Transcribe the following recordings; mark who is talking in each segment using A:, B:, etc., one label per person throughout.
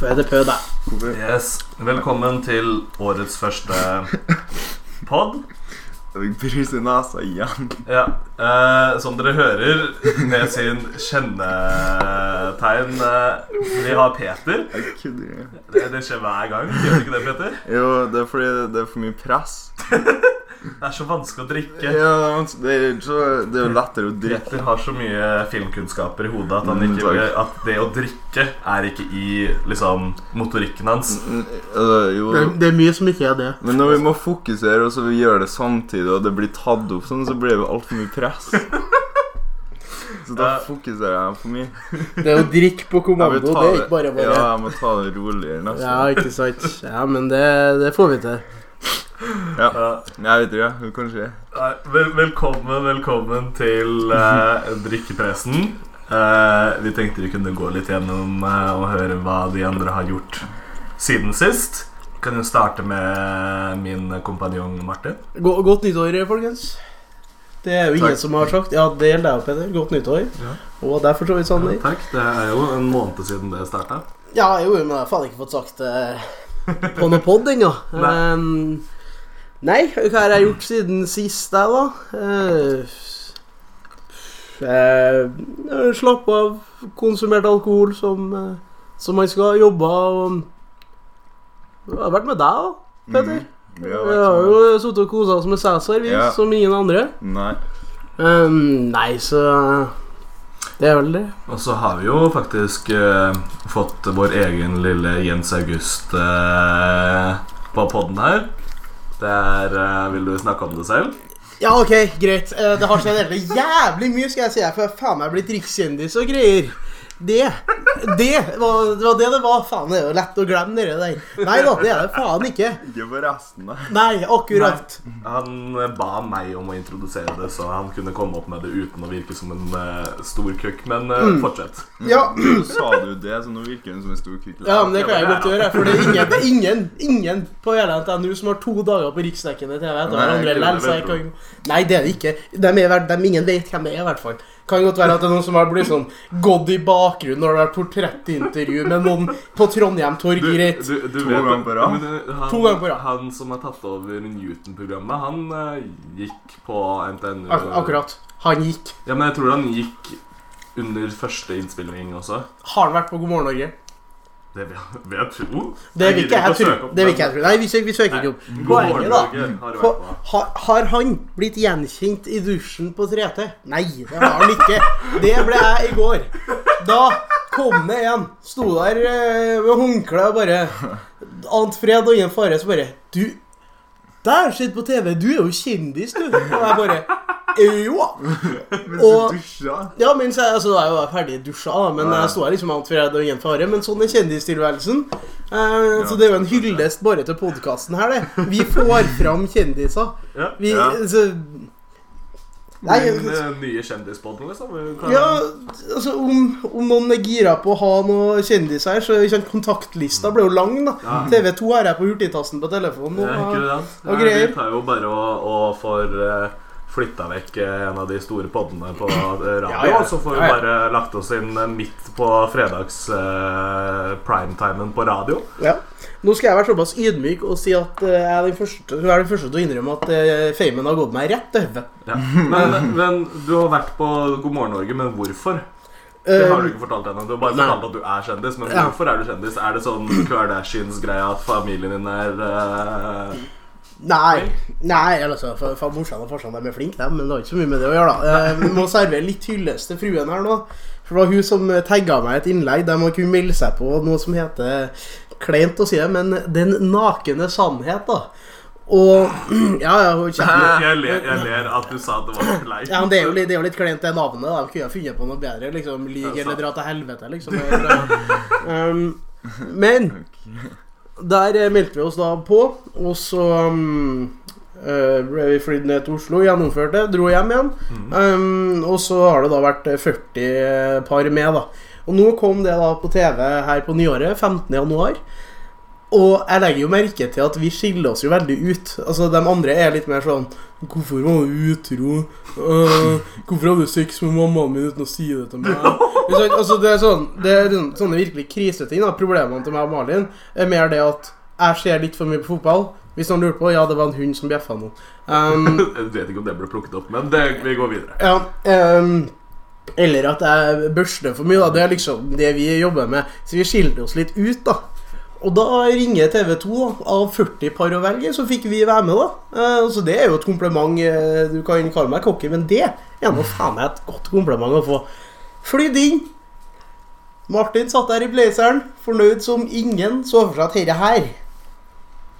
A: Før det pø, da.
B: Yes. Velkommen til årets første pod.
C: Brusene, altså. Igjen.
B: Ja. Eh, som dere hører, med sin kjennetegn eh, Vi har Peter.
C: Jeg kødder. ikke.
B: Det, det skjer hver gang. Gjør det ikke det, Peter?
C: Jo, det er fordi det er for mye press.
B: Det er så vanskelig å drikke.
C: Ja, men det er jo så- det er jo lettere å drikke.
B: Peter har så mye filmkunnskaper i hodet at, han
C: Mm,
B: ikke,
C: takk.
B: at det å drikke er ikke i liksom, motorikken hans.
C: Mm, øh,
A: Det,
C: Jo.
A: det er mye som ikke er det.
C: Men når vi må fokusere, og så vi gjør det samtidig, og det blir tatt opp sånn, så blir det altfor mye press. Så da
B: Ja.
C: fokuserer jeg for mye.
A: Det er jo drikk på
C: Jeg
A: kommando,
C: vil
A: det
C: ta
A: er
C: det,
A: ikke bare bare.
C: ja, jeg må ta det roligere neste
A: Ja, ikke sant. Ja, men det, det får vi til.
B: Eh,
C: Nei, Jeg vet ikke, kanskje.
B: Nei, Vel, velkommen, velkommen til eh, drikkepressen. Eh, vi tenkte vi kunne gå litt gjennom eh, og høre hva de andre har gjort siden sist. Kan jo starte med eh, min kompanjong Martin.
A: Go- Godt nyttår, folkens. Det er jo ingen
C: Takk.
A: som har sagt Ja, det gjelder deg, Peder. Godt nyttår.
B: Ja.
A: Og derfor så sånn vidt, Sander.
B: takk. Det er jo en måned siden det starta.
A: Ja, jo, men jeg har faen ikke fått sagt det på noe pod ennå.
B: Nei.
A: Ehm, nei, hva har jeg gjort siden sist, jeg, da? Eh, eh, jeg slapp av, konsumert alkohol som, eh, som man skal, jobba og Jeg har vært med deg, da, Petter.
C: Mm, vi
A: Vi
C: har
A: har
C: vært
A: jo sittet og kosa oss med Cæsar, vi,
C: Ja.
A: som ingen andre.
C: sammen. Nei.
A: Ehm, nei, så Det er vel det.
B: Og så har vi jo faktisk eh, fått vår egen lille Jens August eh, på poden her. Det er eh, Vil du snakke om det selv?
A: Ja, ok, greit. Eh, Det har skjedd helt jævlig mye, skal jeg si. deg, For jeg har faen meg blitt rikskjendis og greier. Det det var, det var det det var. Faen, det er jo lett å glemme det der. Nei da, det er det faen ikke.
C: Ikke for resten, da.
A: Nei, akkurat.
B: Han eh, ba meg om å introdusere det, så han kunne komme opp med det uten å virke som en eh, stor køkk. Men eh,
A: Mm.
B: fortsett.
A: Ja.
C: Nå sa du det, så nå virker hun som en stor kvikk.
A: ja, men det kan jeg godt gjøre. For det er ingen, det er ingen, ingen på hele NTNU som har to dager på riksdekkende TV etter
C: Nei,
A: hverandre.
C: ikke det,
A: lell, så jeg
B: det
A: kan- Nei, det er det ikke. Dem er, vel- dem ingen vet hvem det er, i hvert fall. Kan godt være at det er noen som har blitt sånn gått i bakgrunnen når det er portrettintervju med noen på Trondheim Torg. Greit.
B: du, du
C: To ganger på rad.
B: men, eh, han,
A: To ganger på rad.
B: Han som har tatt over Newton-programmet, han eh, gikk på NTNU.
A: Ak akkurat. Han gikk.
B: Ja, men jeg tror han gikk under første innspilling også.
A: Har han vært på God morgen Norge?
B: Det vil jeg- vil jeg tro.
A: Det vil ikke jeg
B: gidder
A: tro.
B: å søke opp
A: Det vil
B: den.
A: ikke jeg tro. Nei, vi søker, vi søker ikke opp.
B: God
A: Poenget,
B: morgen,
A: da.
B: Norge, har du
A: På,
B: vært på.
A: har, har han blitt gjenkjent i dusjen på 3T? Nei, det har han ikke. Det ble jeg i går. Da kom det en. Sto der eh, med håndkle og bare Ant fred og ingen fare. Så bare Du, der sitter på TV. Du er jo kjendis, du. Og jeg bare «Eh, Jo.
C: Men
A: så Og-
C: dusja.
A: Ja, mens jeg, altså, da er jeg jo ferdig dusja, da, men
C: Ja.
A: jeg står her liksom alt for jeg og ingen fare. Men sånn er kjendistilværelsen. Eh, så det er jo en hyllest bare til podkasten her, det. Vi får fram kjendiser.
B: Ja.
A: Vi
C: Ja.
A: altså, Nei,
B: Den eh, nye kjendispodden, liksom. Kan-
A: ja, altså om, om noen er gira på å ha noen kjendiser her, så ikke sant, kontaktlista ble jo lang, da.
B: Ja.
A: TV2 har jeg på hurtigtasten på telefonen.
B: Det er
A: Og,
B: ikke sant?
A: og
B: Nei,
A: greier.
B: Vi tar jo bare og, og får eh, flytta vekk eh, en av de store poddene på eh, radio,
A: Ja, ja.
B: og så får vi
A: Ja, ja.
B: bare lagt oss inn eh, midt på fredags eh, primetimen på radio.
A: Ja. Nå skal jeg være såpass ydmyk og si at eh, jeg er den første, jeg er den første til å innrømme at eh, famen har gått meg rett til hodet.
B: Ja. Men, men du har vært på God morgen Norge, men hvorfor? Det
A: Um,
B: har du ikke fortalt ennå. Du har bare
A: Nei.
B: fortalt at du er kjendis. Men
A: Ja.
B: hvorfor er du kjendis? Er det sånn Kardashians-greie at familien din er eh,
A: Nei, nei altså, for, for morsan og farsan de er flinke, de, men det har ikke så mye med det å gjøre. da Eh, Vi må servere litt hyllest til fruen her nå. For det var hun som tagga meg i et innlegg der man kunne melde seg på noe som heter Kleint å si det, men Den nakne sannhet, da. Og Ja, ja, hun kjenner
B: jeg, ler, jeg ler at du sa at det var leit.
A: ja, men det er, jo litt, det er jo litt kleint, det navnet. da. De kunne ha funnet på noe bedre. liksom Lig eller dra til helvete, liksom. Um, men der eh, meldte vi oss da på, og så um, eh, ble vi flydd ned til Oslo, gjennomførte, dro hjem igjen. Um, og så har det da vært eh, 40 par med, da. Og nå kom det da på TV her på nyåret, 15. januar. Og jeg legger jo merke til at vi skiller oss jo veldig ut. Altså, De andre er litt mer sånn 'Hvorfor var du utro? Øh, hvorfor hadde du sex med mammaen min uten å si det til meg?' Ikke sant? Altså, det er, sånn, det er liksom sånne virkelig kriseting. da Problemene til meg og Malin er mer det at jeg ser litt for mye på fotball. Hvis noen lurer på Ja, det var en hund som bjeffa nå. Um,
B: Jeg vet ikke om det ble plukket opp, men det, vi går videre.
A: ja, ehm, eller at jeg børster for mye. da Det er liksom det vi jobber med. Så vi skilte oss litt ut, da. Og da ringer TV 2. da Av 40 par å velge, så fikk vi være med, da. Eh, så det er jo et kompliment. eh, Du kan kalle meg cocky, men det er nå faen meg et godt kompliment å få. Flydd inn. Martin satt der i blazeren, fornøyd som ingen så for seg at herre her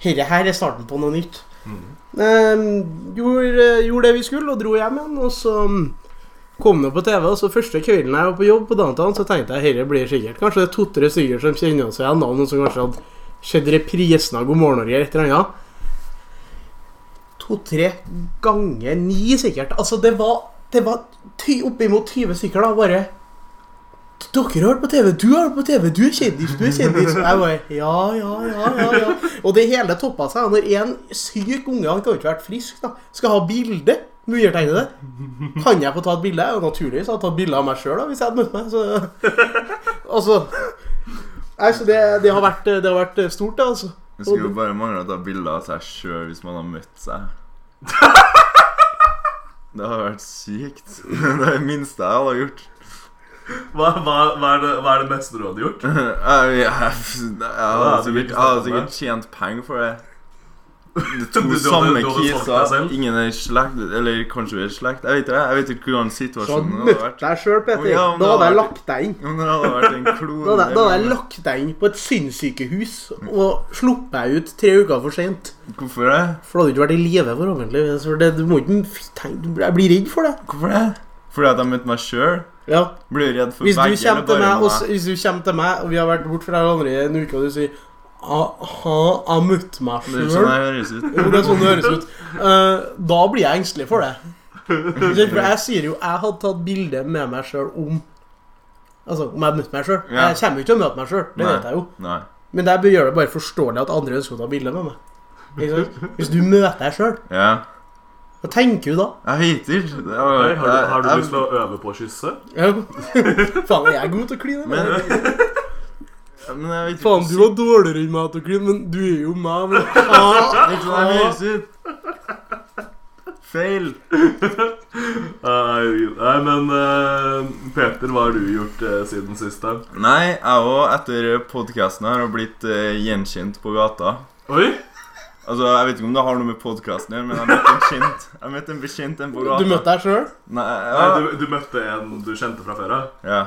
A: Herre her er starten på noe nytt. Eh, gjorde, gjorde det vi skulle, og dro hjem igjen. Og så mm, kom det på TV, og så første kvelden jeg var på jobb på downtown, så tenkte jeg herre blir sikkert kanskje det er to-tre stykker som kjenner oss igjen, da, noen som kanskje hadde sett reprisen av God morgen Norge eller et eller annet. To-tre ganger ni, sikkert. Altså, det var, det var ty, oppimot 20 stykker, da, bare dere har vært på TV, du har vært på TV, du er kjendis, du er kjendis. Og jeg bare ja, ja, ja, ja, ja. Og det hele toppa seg når en syk unge, han kan jo ikke være frisk, da, skal ha bilde. Mugertegnede. Kan jeg få ta et bilde? Og naturligvis har jeg tatt bilde av meg sjøl hvis jeg hadde møtt meg. Så, altså, nei, så det, det, har vært, det har vært stort, det, altså.
C: Det skulle jo bare mangle å ta bilder av seg sjøl hvis man har møtt seg. Det hadde vært sykt. Det er det minste jeg hadde gjort.
B: Hva, hva, hva, er, det, hva er det beste du hadde gjort?
C: Jeg, jeg, jeg, hadde, sikkert, jeg hadde sikkert tjent penger for det. Det
B: Du-
C: to
B: du hadde-
C: samme
B: du hadde solgt deg
C: kiser.
B: selv?
C: Ingen er i slekt, eller kanskje vi er i slekt. Jeg vet ikke, jeg vet ikke
A: Så
C: hvordan
A: hadde
C: situasjonen
A: du
C: hadde
A: møtt
C: Sånn vært.
A: deg sjøl, Petter.
C: Å, ja,
A: Da
C: men det
A: hadde
C: hadde
A: jeg
C: vært-
A: lagt deg inn.
C: Om det hadde vært en
A: Da
C: klone
A: hadde jeg- da hadde jeg lagt deg inn på et sinnssykehus og sluppet deg ut tre uker for seint.
C: Hvorfor det?
A: For da hadde du ikke vært i live, forhåpentligvis. For det, du må ikke f- tenke du- Jeg blir redd for det.
C: Hvorfor det? Fordi at jeg møtte meg sjøl?
A: Ja.
C: Blir redd for
A: Hvis du
C: begge
A: kommer til
C: eller bare
A: meg, og, s- hvis du kommer til meg, og vi har vært borte fra hverandre i en uke, og du sier Aha, jeg møtte meg
C: Det er jo
A: sjøl.
C: sånn jeg høres ut.
A: Jo, det er sånn det høres ut. Eh, da blir jeg engstelig for det. For jeg sier jo jeg hadde tatt bilde med meg sjøl om Altså, om jeg møtte meg sjøl.
C: Ja.
A: Jeg kommer jo ikke til å møte meg sjøl, det
C: Nei.
A: vet jeg jo.
C: Nei.
A: Men det gjør det bare forståelig at andre ønsker å ta bilde med meg. Ikke sant? Hvis du møter deg sjøl,
C: Ja.
A: hva tenker du da?
C: Jeg hater. Det var-
B: Har du, har du
C: jeg-
B: lyst til å øve på å kysse?
A: Ja. Faen, er jeg god til å kline?
C: Men,
A: eller?
C: men jeg vet ikke
A: Faen, du var dårligere enn meg til å kline, men du er jo meg. Men... Ah,
C: Vet du hva sånn jeg høres ut? Feil.
B: Nei, nei, men eh, Peter, hva har du gjort eh, siden sist? da?
C: Nei, jeg òg, etter podkasten her, har blitt eh, gjenkjent på gata.
B: Oi!
C: Altså, Jeg vet ikke om det har noe med podkasten å gjøre, men jeg møtte en kjent Jeg møtte en bekjent en på gata.
A: Du møtte deg sjøl?
C: Nei, ja.
B: Nei, du, du møtte en du kjente fra før av?
C: ja.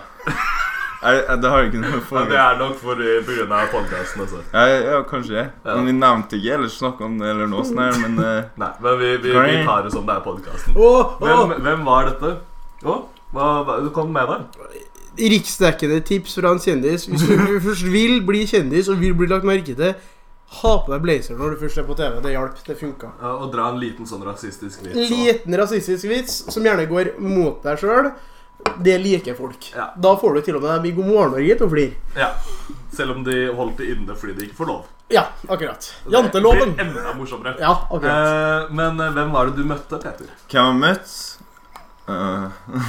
C: Jeg, jeg, det har ikke noe
B: Ja,
C: forhold
B: det er nok for eh, pga. podkasten. Altså.
C: ja, ja, kanskje det. Men vi nevnte ikke eller snakka om det eller noe sånt, her, men eh,
B: Nei, men vi, vi, vi
C: Nei.
B: tar det som det er podkasten.
A: Åh,
B: Hvem,
A: åh.
B: hvem var dette? Å, hva, hva, du kom med deg.
A: Riksdekkende tips fra en kjendis. Hvis du først vil bli kjendis og vil bli lagt merke til, ha på deg blazer når du først er på TV. Det hjalp. Det funka.
B: Ja, Og dra en liten sånn rasistisk vits. og-
A: Liten rasistisk vits som gjerne går mot deg sjøl. Det liker folk.
B: Ja.
A: Da får du til og med dem i God morgen Norge til å flire.
B: Ja. Selv om de holdt det inne fordi de ikke får lov.
A: Ja, akkurat.
B: Det
A: Janteloven.
B: blir Enda morsommere.
A: Ja, akkurat.
B: Eh, men eh, hvem var det du møtte, Peter?
C: hvem har jeg møtt? Eh,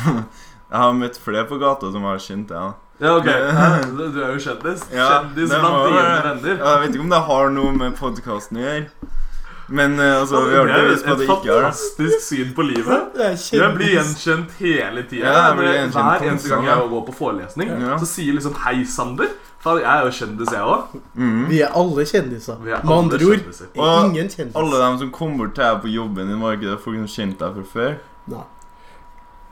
C: jeg har møtt flere på gata som har kjent deg. Ja.
B: Ja, ok. Eh, Du du er jo kjendis.
C: Ja,
B: Kjendis
C: det
B: blant
C: må
B: dine
C: være-
B: venner.
C: Ja, Jeg vet ikke om det har noe med podkasten å gjøre. Men eh, altså, vi har
B: Det er jo
C: bevis på at det
B: et
C: ikke har det.
B: fantastisk syn på livet. Jeg blir gjenkjent hele tida.
C: Ja, jeg blir gjenkjent
B: Hver
C: på
B: eneste gang
C: konsert.
B: jeg går på forelesning,
C: Ja.
B: så sier liksom 'Hei, Sander'. Faen, jeg er jo kjendis, jeg òg.
C: Mhm.
A: Vi er alle kjendiser.
B: Vi er
A: Med
B: alle
A: andre ord
B: kjendiser.
A: er ingen kjendis.
C: Alle dem som kom bort til deg på jobben din, var ikke det folk som kjente deg fra før?
A: Nei.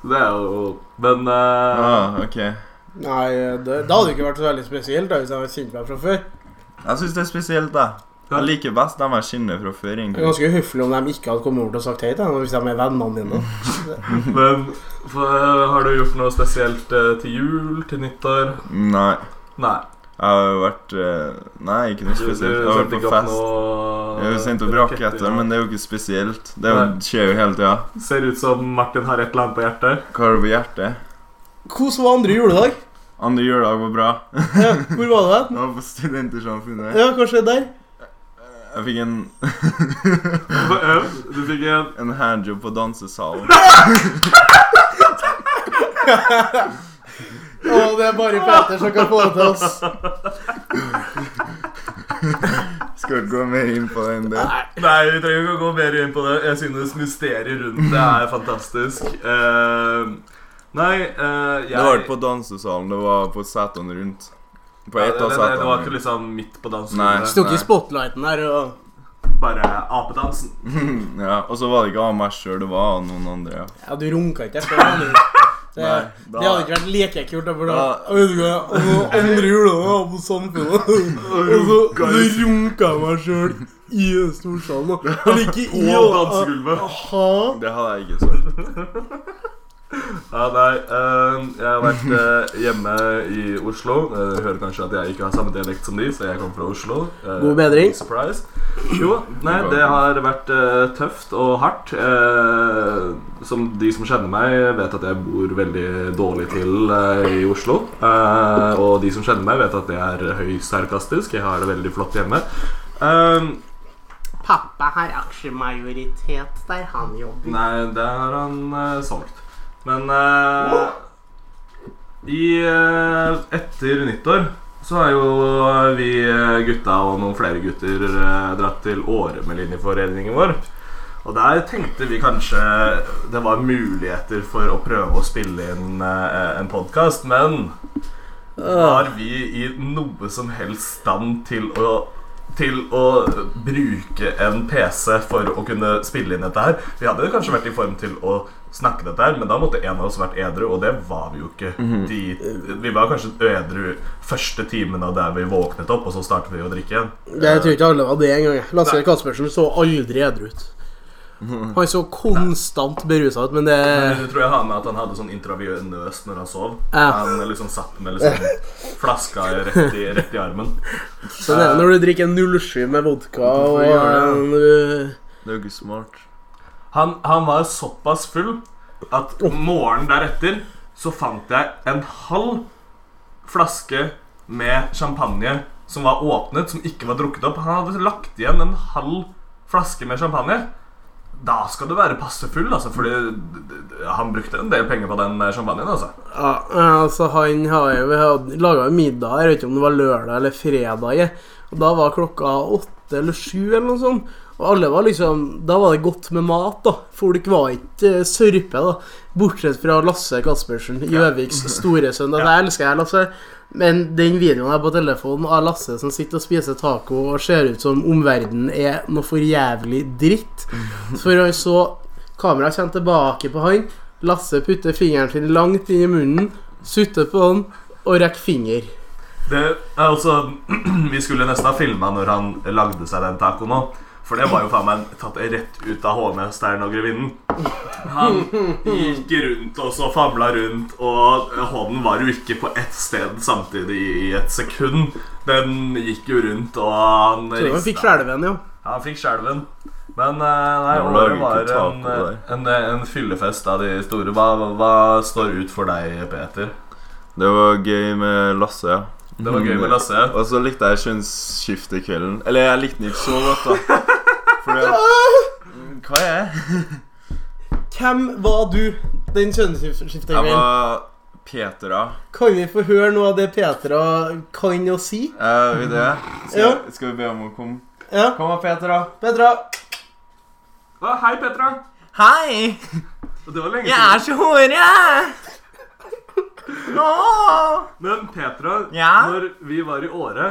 B: Det er jo Men
C: Ja,
B: eh,
C: Ah, ok Jeg
A: Nei, det, det hadde ikke vært så veldig spesielt da, hvis jeg hadde kjent meg fra før.
C: syns det er spesielt, da. Jeg liker best dem jeg kjenner fra før.
A: Det er
C: egentlig
A: ganske høflig om de ikke hadde kommet over og sagt hei til deg, hvis de er vennene dine.
B: Men for, eh, har du gjort noe spesielt eh, til jul, til nyttår?
C: Nei.
B: Nei.
C: Jeg har jo vært eh, Nei, ikke noe
B: Du, du
C: spesielt. Jeg har vært
B: sendte
C: på
B: ikke opp
C: fest. Jeg
B: noe eh,
C: har jo sendt opp rakke etter, men det er jo ikke spesielt. Det er jo,
B: Nei.
C: skjer jo hele tida.
B: Ser ut som Martin har et eller annet på hjertet.
C: Hva har du på hjertet?
A: Hvordan var andre juledag?
C: Andre juledag var bra.
A: Ja, hvor var det hen?
C: Jeg var på Studentersamfunnet.
A: Ja, hva skjedde der?
C: Jeg fikk en,
B: Du fikk en
C: en handjob på dansesalen.
A: Å, det er bare Petter som kan få det til oss.
C: Skal ikke gå mer inn på det enn det.
B: Nei, vi trenger ikke å gå mer inn på det. Jeg synes mysteriet rundt det er fantastisk. Eh, nei, eh, jeg
C: Det var ikke på dansesalen, det var på setene rundt. På
B: Nei,
C: ett
B: det,
C: av
B: det, det, det var ikke
C: setene.
B: liksom midt på
C: Nei.
B: dansen.
A: Sto ikke i spotlighten her og
B: Bare apedansen.
C: Ja, og så var det ikke av meg sjøl, det var av noen andre. ja.
A: Ja, du runka ikke etter det. du. Det,
C: Nei, da-
A: det hadde ikke vært lekekult. Da, for da, Jeg
C: Da-
A: vet ikke, hva, og så andre juledag var på Samfunnet, og så,
B: runka
A: så runka jeg meg sjøl i storsalen. da. Eller ikke i
B: På
A: og-
B: dansegulvet.
A: Aha.
C: Det hadde jeg ikke sagt.
B: Ja, nei, eh, jeg har vært eh, hjemme i Oslo. Eh, Du hører kanskje at jeg ikke har samme dialekt som de, så jeg kommer fra Oslo. Eh,
A: God bedring.
B: Surprise. Jo, nei, det har vært eh, tøft og hardt. Eh, som de som kjenner meg, vet at jeg bor veldig dårlig til eh, i Oslo. Eh, og de som kjenner meg, vet at jeg er høysarkastisk. Jeg har det veldig flott hjemme. Eh,
A: Pappa har aksjemajoritet der han jobber.
B: Nei, det har han eh, solgt. Men eh, i, eh, etter nyttår så har jo vi eh, gutta og noen flere gutter eh, dratt til Åre med linjeforeningen vår. Og der tenkte vi kanskje det var muligheter for å prøve å spille inn eh, en podkast, men var vi i noe som helst stand til å til å bruke en PC for å kunne spille inn dette her. Vi hadde jo kanskje vært i form til å snakke dette her, men da måtte en av oss vært edru, og det var vi jo ikke. De, vi var kanskje edru første timen av der vi våknet opp, og så startet vi å drikke igjen.
A: Jeg tror ikke alle var det engang. Lasse Kaspersen så aldri edru ut. Han så konstant berusa ut, men det
B: Jeg tror jeg har med at han hadde sånn intravenøst når han sov.
A: Ja.
B: Han liksom satt med liksom flaska rett i, rett i armen.
A: Sånn er det når du drikker 07 med vodka og
C: Hvorfor gjør
A: eh,
C: Det er jo ikke smart.
B: Han, han var såpass full at morgenen deretter så fant jeg en halv flaske med champagne som var åpnet, som ikke var drukket opp. Han hadde lagt igjen en halv flaske med champagne. Da skal du være passe full, altså, fordi d- d- han brukte en del penger på den eh, champagnen. altså.
A: Ja, altså han har jo vi hadde laga middag her, jeg vet ikke om det var lørdag eller fredag. jeg. Og Da var klokka åtte eller sju eller noe sånt. Og alle var liksom Da var det godt med mat, da. Folk var ikke eh, sørpe, da. Bortsett fra Lasse Caspersen, Gjøviks store sønn. Altså, jeg elsker deg, Lasse. Men den videoen her på telefonen av Lasse som sitter og spiser taco og ser ut som omverdenen er noe for jævlig dritt For han så Kameraet kommer tilbake på han. Lasse putter fingeren sin langt inn i munnen, sutter på han og rekker finger.
B: Det, altså, Vi skulle nesten ha filma når han lagde seg den tacoen òg. For det var jo faen meg tatt rett ut av hovmesteren og grevinnen. Han gikk rundt og så famla rundt, og hånden var jo ikke på ett sted samtidig i et sekund. Den gikk jo rundt, og han
A: Så han fikk
B: rista.
A: skjelven, jo.
B: Ja, han fikk skjelven. Men eh, nei,
C: Ja, men
B: året
C: lager
B: var
C: ikke
B: en, eh,
C: taco
B: en, en fyllefest av de store. Hva, hva- hva står ut for deg, Peter?
C: Det var gøy med Lasse, ja.
B: Det var gøy
A: Mm.
B: med Lasse.
C: Og så likte jeg kjønnsskiftekvelden. Eller jeg likte den ikke så godt, da. Fordi at Hva er jeg?
A: Hvem var du den
C: Jeg
A: kjønnsskiftekvelden?
C: var Petra.
A: Kan vi få høre noe av det Petra kan å si?
C: Jeg vet det.
A: Ja.
C: Skal, skal vi be om å komme?
A: Ja,
C: Kom da, Petra.
A: Petra.
B: Å, Hei, Petra.
C: Hei!
B: Det var lenge
C: Jeg
B: siden.
C: er så hore, jeg! Nå!
B: Men Petra,
C: Ja?
B: når vi var i Åre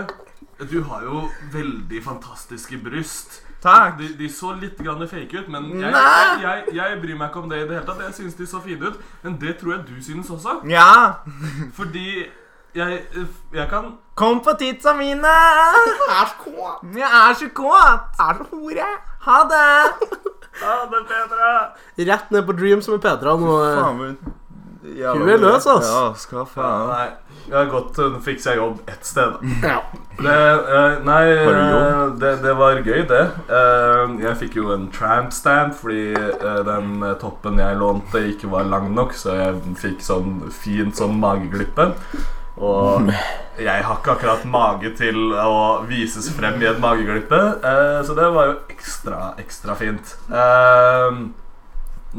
B: Du har jo veldig fantastiske bryst.
C: Takk.
B: De, de så litt grann fake ut, men jeg, jeg,
C: Nei.
B: jeg, jeg bryr meg ikke om det i det hele tatt. Jeg syns de så fine ut, men det tror jeg du synes også.
C: Ja.
B: Fordi jeg, jeg kan
C: Kom på titsa mine!
A: Æsj, kåt.
C: Jeg er så kåt!
A: Æsj, hore.
C: Ha det!
B: Ha det, Petra!
A: Rett ned på Dreams med Petra nå.
C: Faen, men jævla
A: Hun er løs, ass.
C: Ja, skal faen.
B: Nei, jeg har gått Nå fikk jeg jobb ett sted. da.
A: Ja.
B: Det, eh, nei,
C: Har du
B: eh,
C: jobb?
B: det, det var gøy, det. Eh, jeg fikk jo en tramp stamp fordi eh, den eh, toppen jeg lånte, ikke var lang nok, så jeg fikk sånn fint sånn mageglippe. Og jeg har ikke akkurat mage til å vises frem i et mageglippe, eh, så det var jo ekstra, ekstra fint. Eh,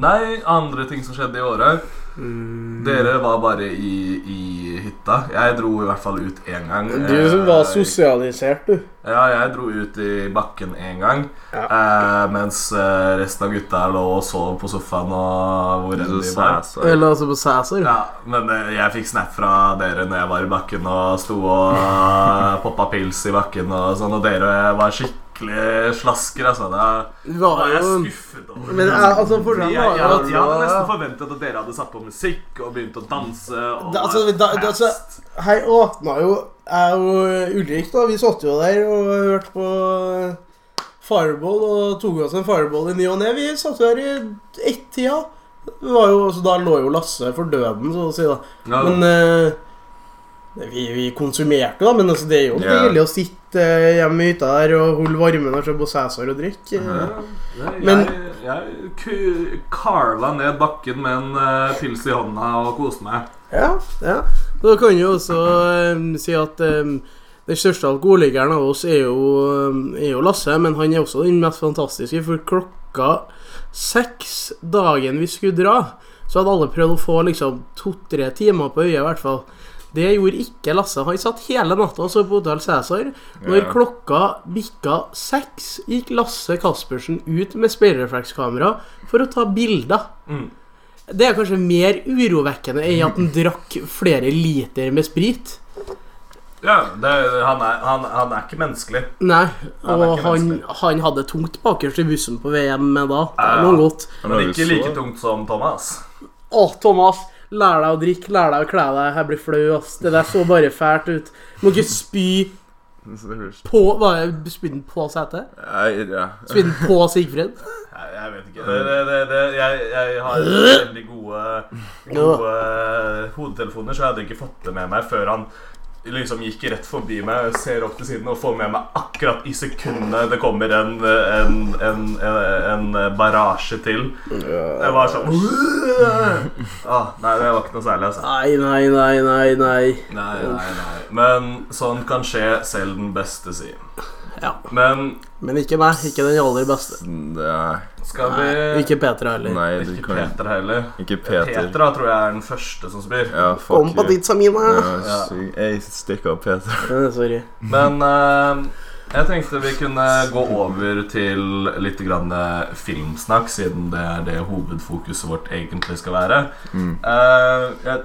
B: nei, andre ting som skjedde i året
A: Mm.
B: Dere var bare i, i hytta. Jeg dro i hvert fall ut én gang.
A: Du som var
B: Eh,
A: sosialisert, du.
B: ja, jeg dro ut i bakken en gang,
A: Ja.
B: eh, mens eh, resten av gutta lå og sov på sofaen og hvor enn
C: Så
B: de var.
C: sæsa.
A: Eller altså på Cæsar.
B: Ja, men eh, jeg fikk snap fra dere når jeg var i bakken og sto og eh, poppa pils i bakken og sånn, og dere var skikkelig slasker, altså. Da
A: Du var
B: var jeg
A: jo
B: skuffet over
A: Men eh, altså,
B: jeg,
A: forskjellen
B: jeg,
A: var jo
B: jeg,
A: at
B: hadde nesten forventet at dere hadde satt på musikk og begynt å danse. Og
A: Da- altså,
B: var
A: da- da- altså-
B: fast.
A: Hei, åpna jo Jeg og Ulrik, da. Vi satt jo der og hørte på eh, Fireball og tok oss en Fireball i ny og ne. Vi satt jo der i ett-tida. Det var jo- Så da lå jo Lasse for døden, så å si, da.
B: ja,
A: Men eh, vi, vi konsumerte, da. Men altså, det er jo
C: Ja.
A: deilig å sitte eh, hjemme i hytta der og holde varmen og se på Cæsar og drikke.
C: Ja.
A: Men-
B: jeg, jeg ku- karva ned bakken med en eh, pils i hånda og koste meg.
A: Ja, ja. Da kan jo også eh, si at eh, den største alkoholikeren av oss er jo, eh, er jo Lasse, men han er også den mest fantastiske, for klokka seks dagen vi skulle dra, så hadde alle prøvd å få liksom to-tre timer på øyet, i hvert fall. Det gjorde ikke Lasse. Han satt hele natta og så på Hotell Cæsar. Når
C: Ja.
A: klokka bikka seks, gikk Lasse Caspersen ut med speilreflekskamera for å ta bilder.
B: Mm.
A: Det er kanskje mer urovekkende enn at han drakk flere liter med sprit.
B: Ja, det, han, er, han, han er ikke menneskelig.
A: Nei,
B: Ja,
A: og
B: det er ikke
A: han,
B: vanskelig.
A: han hadde tungt bakerst i bussen på VM med da. Det er
B: Ja,
A: noe godt.
C: Han
B: Men
C: har jo
B: ikke
C: så-
B: like tungt som Thomas.
A: Å, Thomas, lær deg å drikke, lær deg å kle deg. Jeg blir flau, ass. Det der så bare fælt ut. Må ikke spy
C: Så det høres-
A: på Hva er det? Spy den på setet?
C: Nei, ja.
A: Spy den på Sigfred?
B: Nei, jeg vet ikke. Det, det, det, det, jeg, jeg har veldig gode, gode eh, hodetelefoner, så jeg hadde ikke fått det med meg før han liksom gikk rett forbi meg, ser opp til siden og får med meg akkurat i sekundet det kommer en, en, en, en, en barasje til. Det var sånn ah, Nei, det var ikke noe særlig, altså.
A: Nei, nei, nei, nei, nei.
B: Nei, nei, nei. Men sånn kan skje selv den beste, si.
A: Ja.
B: Men
A: Men ikke meg. Ikke den aller beste.
C: Nei,
B: skal vi
A: Nei,
B: Ikke,
A: ikke Petra heller.
C: nei du kan
B: Peter heller.
C: Ikke
B: Peter,
C: Peter.
B: da, tror jeg er den første som spyr.
C: Ja, fuck
A: Kom på
C: you.
A: ditt, Samina.
C: Ja, syk. Jeg stikker av Peter.
A: Eh, Sorry.
B: Men eh, jeg tenkte vi kunne gå over til litt grann eh, filmsnakk, siden det er det hovedfokuset vårt egentlig skal være.
C: Mm.
B: Eh, jeg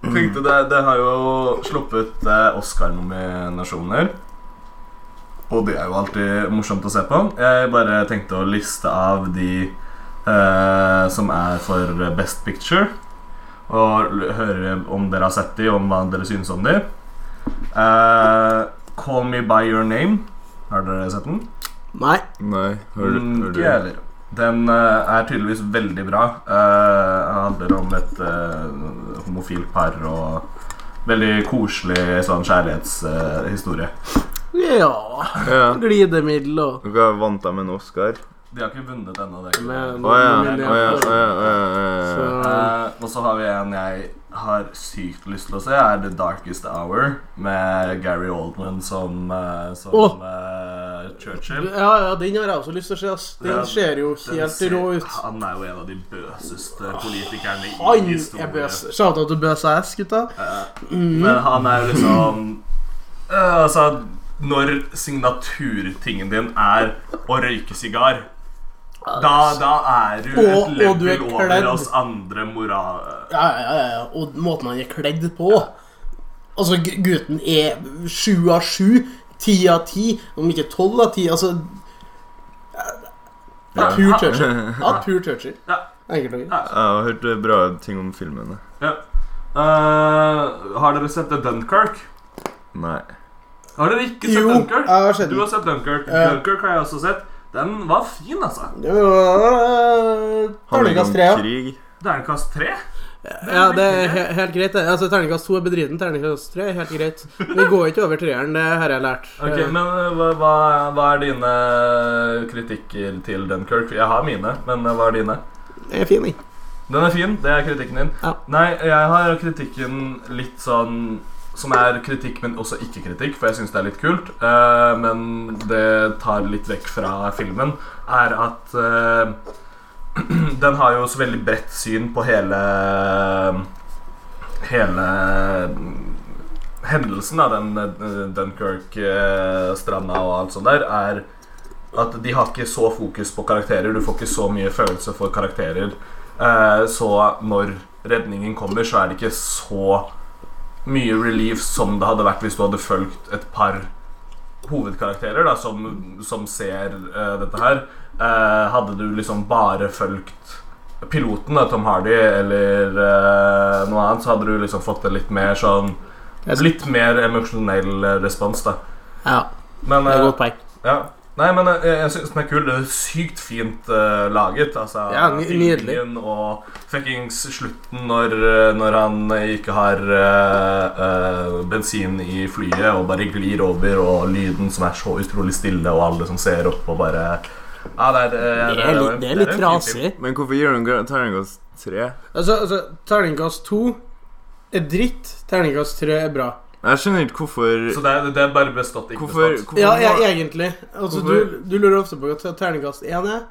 B: tenkte det, det har jo sluppet eh, Oscar-nominasjoner. Og det er jo alltid morsomt å se på. Jeg bare tenkte å liste av de eh, som er for Best Picture. Og l- høre om dere har sett de, om hva dere synes om de. Eh, Call Me By Your Name. Har dere sett den?
A: Nei.
C: Nei, hører du?
B: Mm,
C: hører
B: Ikke jeg heller. Den eh, er tydeligvis veldig bra. Eh, den handler om et eh, homofilt par og veldig koselig sånn kjærlighetshistorie.
A: Ja
C: du? Ja.
A: Glidemiddel og
C: Hva vant de en Oscar?
B: De har ikke vunnet ennå, det. er ikke Mm,
A: Men-
B: det.
A: eh,
C: Å ja. Å
A: men-
C: ja, å ja, å ja, å ja.
A: Så-
B: Eh, og så har vi en jeg har sykt lyst til å se, er The Darkest Hour, med Gary Oldman som, eh, som
A: Åh.
B: eh, Churchill.
A: Ja, ja, den har jeg også lyst til å se. ass.
B: Ja,
A: Den ser jo
B: Den
A: helt
B: ser-
A: rå ut.
B: Han er jo en av de bøseste politikerne i
A: Han er
B: historien.
A: bøs. Shout-out til Bøs ass, gutta.
B: Eh, Men
A: Mm.
B: han er jo liksom eh, Altså, når signaturtingen din er å røyke sigar da, da er du
A: Og-
B: et
A: og du er
B: level
A: kledd.
B: over oss andre moral...
A: Ja, ja, ja, ja. Og måten han er kledd på. Altså, gu- gutten er sju av sju. Ti av ti. Om ikke tolv av ti. Altså ja,
B: Ja.
A: Pure Churchill. Ja, pure Churchill.
B: Ja.
A: Enkelt og greit.
C: Jeg har hørt eh, bra ting om filmen. jeg.
B: Eh, har dere sett The Dunkerque?
C: Nei.
B: Har dere ikke sett
A: Jo, jeg
B: Dunkerque?
A: har sett
B: Du
A: den.
B: har sett Dunkerque.
A: Ja.
B: Dunkerque har jeg også sett. Den var fin, altså.
A: Ja, ja, ja. eh,
C: Handler
A: Terningkast
C: om
A: tre, ja.
C: krig.
B: Terningkast tre.
A: Ja, det er he- helt greit. det. Altså, Terningkast to er bedriten, terningkast tre er helt greit. Vi går ikke over treeren, det har jeg lært.
B: Ok,
A: Eh,
B: men eh, hva, hva, hva er dine kritikker til Dunkerque? Jeg har mine, men eh, hva er dine?
A: Det er fin, jeg.
B: Den er fin, det er kritikken din.
A: Ja.
B: Nei, jeg har kritikken litt sånn Som er kritikk, men også ikke kritikk, for jeg syns det er litt kult. eh, men det tar litt vekk fra filmen, er at eh, den har jo så veldig bredt syn på hele Hele hendelsen, da, den eh, Dunkirk, eh, stranda og alt sånt der, er at de har ikke så fokus på karakterer. Du får ikke så mye følelse for karakterer. Eh, så når redningen kommer, så er det ikke så mye relief som det hadde vært hvis du hadde fulgt et par hovedkarakterer da, som, som ser eh, dette her. Eh, hadde du liksom bare fulgt piloten, da, Tom Hardy, eller eh, noe annet, så hadde du liksom fått en litt mer sånn Litt mer emosjonell eh, respons, da.
A: Ja,
B: Men
A: det er
B: eh,
A: et godt poeng.
B: ja. Nei, men jeg, jeg syns den er kul. Det er sykt fint eh, laget. Altså,
A: Ja, ny- nydelig.
B: filmingen Og fuckings slutten når, eh, når han ikke har eh, eh, bensin i flyet og bare glir over, og lyden som er så utrolig stille, og alle som ser opp og bare ja, det, er, eh,
A: Det er litt, det er litt
B: en fin film.
A: trasig.
C: Men hvorfor gir du en terningkast tre?
A: Altså, altså terningkast to er dritt. Terningkast tre er bra.
C: Jeg skjønner ikke hvorfor
B: Så det er, det er bare bestått, ikke
C: Hvorfor,
B: bestått.
C: hvorfor
A: Ja,
C: må-
A: ja egentlig. Altså, du, du lurer ofte på hva terningkast én er.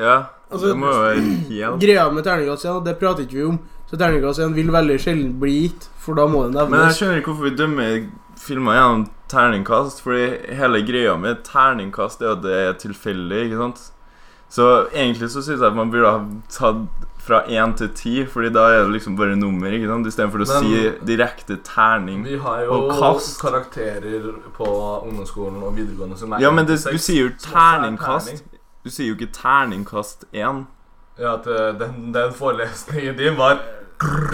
C: ja
A: altså-
C: det må jo være helt
A: Greia med terningkast én, og det prater ikke vi om, så terningkast én vil veldig sjelden bli gitt, for da må det
C: Men jeg
A: nevnes.
C: skjønner ikke hvorfor vi dømmer filmer gjennom terningkast, fordi hele greia med terningkast er at det er tilfeldig, ikke sant? Så egentlig så syns jeg at man burde ha tatt fra én til ti, Fordi da er det liksom bare nummer, ikke sant? istedenfor å
B: Men-
C: si direkte terning.
B: Vi har jo
C: Og kast.
B: karakterer på ungdomsskolen og videregående som er
C: Ja, men det, du
B: seks.
C: sier jo
B: som også er
C: terningkast.
B: terning.
C: Du sier jo ikke terningkast én.
B: Ja, at eh, den, den forelesningen din var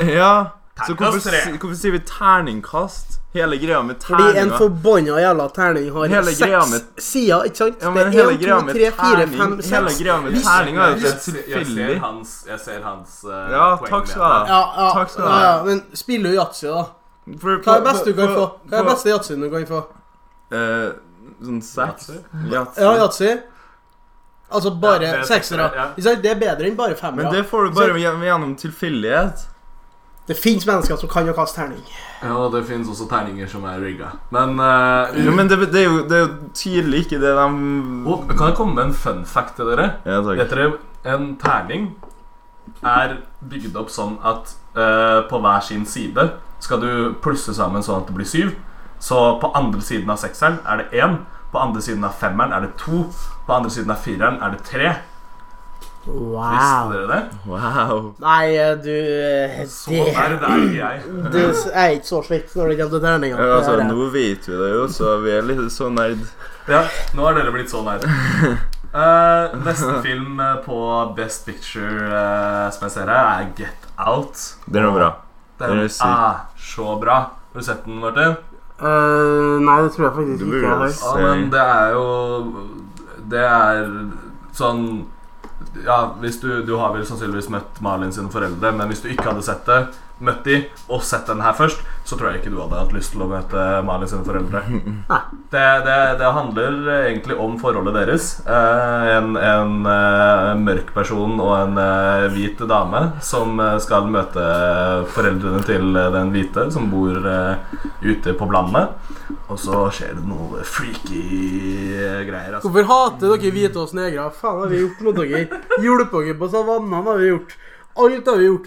C: Ja, så hvorfor,
B: Terningkast tre.
C: si- hvorfor sier vi terningkast? Hele greia med
A: Fordi en
C: terninga
A: forbanna jævla terning har
C: Hele greia
A: seks
C: med-
A: sider, ikke sant?
C: Ja,
A: det
C: men
A: er
C: hele
A: én,
C: greia
A: to,
C: med
A: tre, fire,
C: terning
A: fem,
C: Hele
A: seks
C: greia med terninga er jo
B: Jeg
C: at det
B: ser-
C: er tilfeldig.
B: Jeg ser hans, jeg ser hans eh,
C: Ja,
B: poeng
C: takk
B: med
C: skal du
B: det.
C: ha.
A: ja, ja,
C: Takk skal du
A: ja,
C: ha.
A: ja, men spiller jo yatzy, da.
C: For-
A: Hva er
C: på-
A: det beste du kan
C: på-
A: få? Hva er
C: på-
A: det beste yatzyen du kan få?
C: Eh, sånn seks? Yatzy.
A: Ja, yatzy. Altså bare
B: Ja, det er
A: seksere.
B: seksere, ja.
A: Ikke sant? Det er bedre enn bare
C: Men
A: femmere.
C: det får du bare gjennom, gjennom tilfeldighet.
A: Det finnes mennesker som kan å kaste terning.
B: Ja, og det finnes også terninger som er rigga. Men eh,
C: Jo, men det, det, er jo, det er jo tydelig ikke det de
B: oh, Kan jeg komme med en fun fact til dere?
C: Ja, takk.
B: Vet dere, en terning er bygd opp sånn at eh, på hver sin side skal du plusse sammen sånn at det blir syv. Så på andre siden av sekseren er det én. På andre siden av femmeren er det to. På andre siden av fireren er det tre. Visste dere det?
C: Wow.
A: Nei, du eh,
B: Så
A: det,
B: nerd er ikke jeg.
A: Du er ikke så slikt når det kommer til terninger.
C: Ja, altså,
A: Det er-
C: nå vet vi det jo, så vi er litt så nerd.
B: Ja, nå har dere blitt sånn her. Eh, neste film eh, på Best Picture eh, som jeg ser her, er Get Out.
C: Det er noe bra.
B: Den
C: Den er
B: er
C: syk.
B: så bra. Har du sett den, Martin?
A: Eh, nei, det tror jeg faktisk
C: Du
A: ikke.
C: burde
A: jeg har.
C: det.
B: Ja, men det er jo Det er sånn Ja, hvis du, du har vel sannsynligvis møtt Malin sine foreldre, men hvis du ikke hadde sett det, møtt de og sett den her først, så tror jeg ikke du hadde hatt lyst til å møte Malin sine foreldre. Det, det, det handler egentlig om forholdet deres. Eh, en en eh, mørk person og en eh, hvit dame som eh, skal møte foreldrene til eh, den hvite, som bor eh, ute på landet. Og så skjer det noe freaky greier. Altså.
A: Hvorfor hater dere hvite oss negere? Faen, har vi gjort mot dere? Hjulpet dere på savannen har vi gjort. Alt har vi gjort.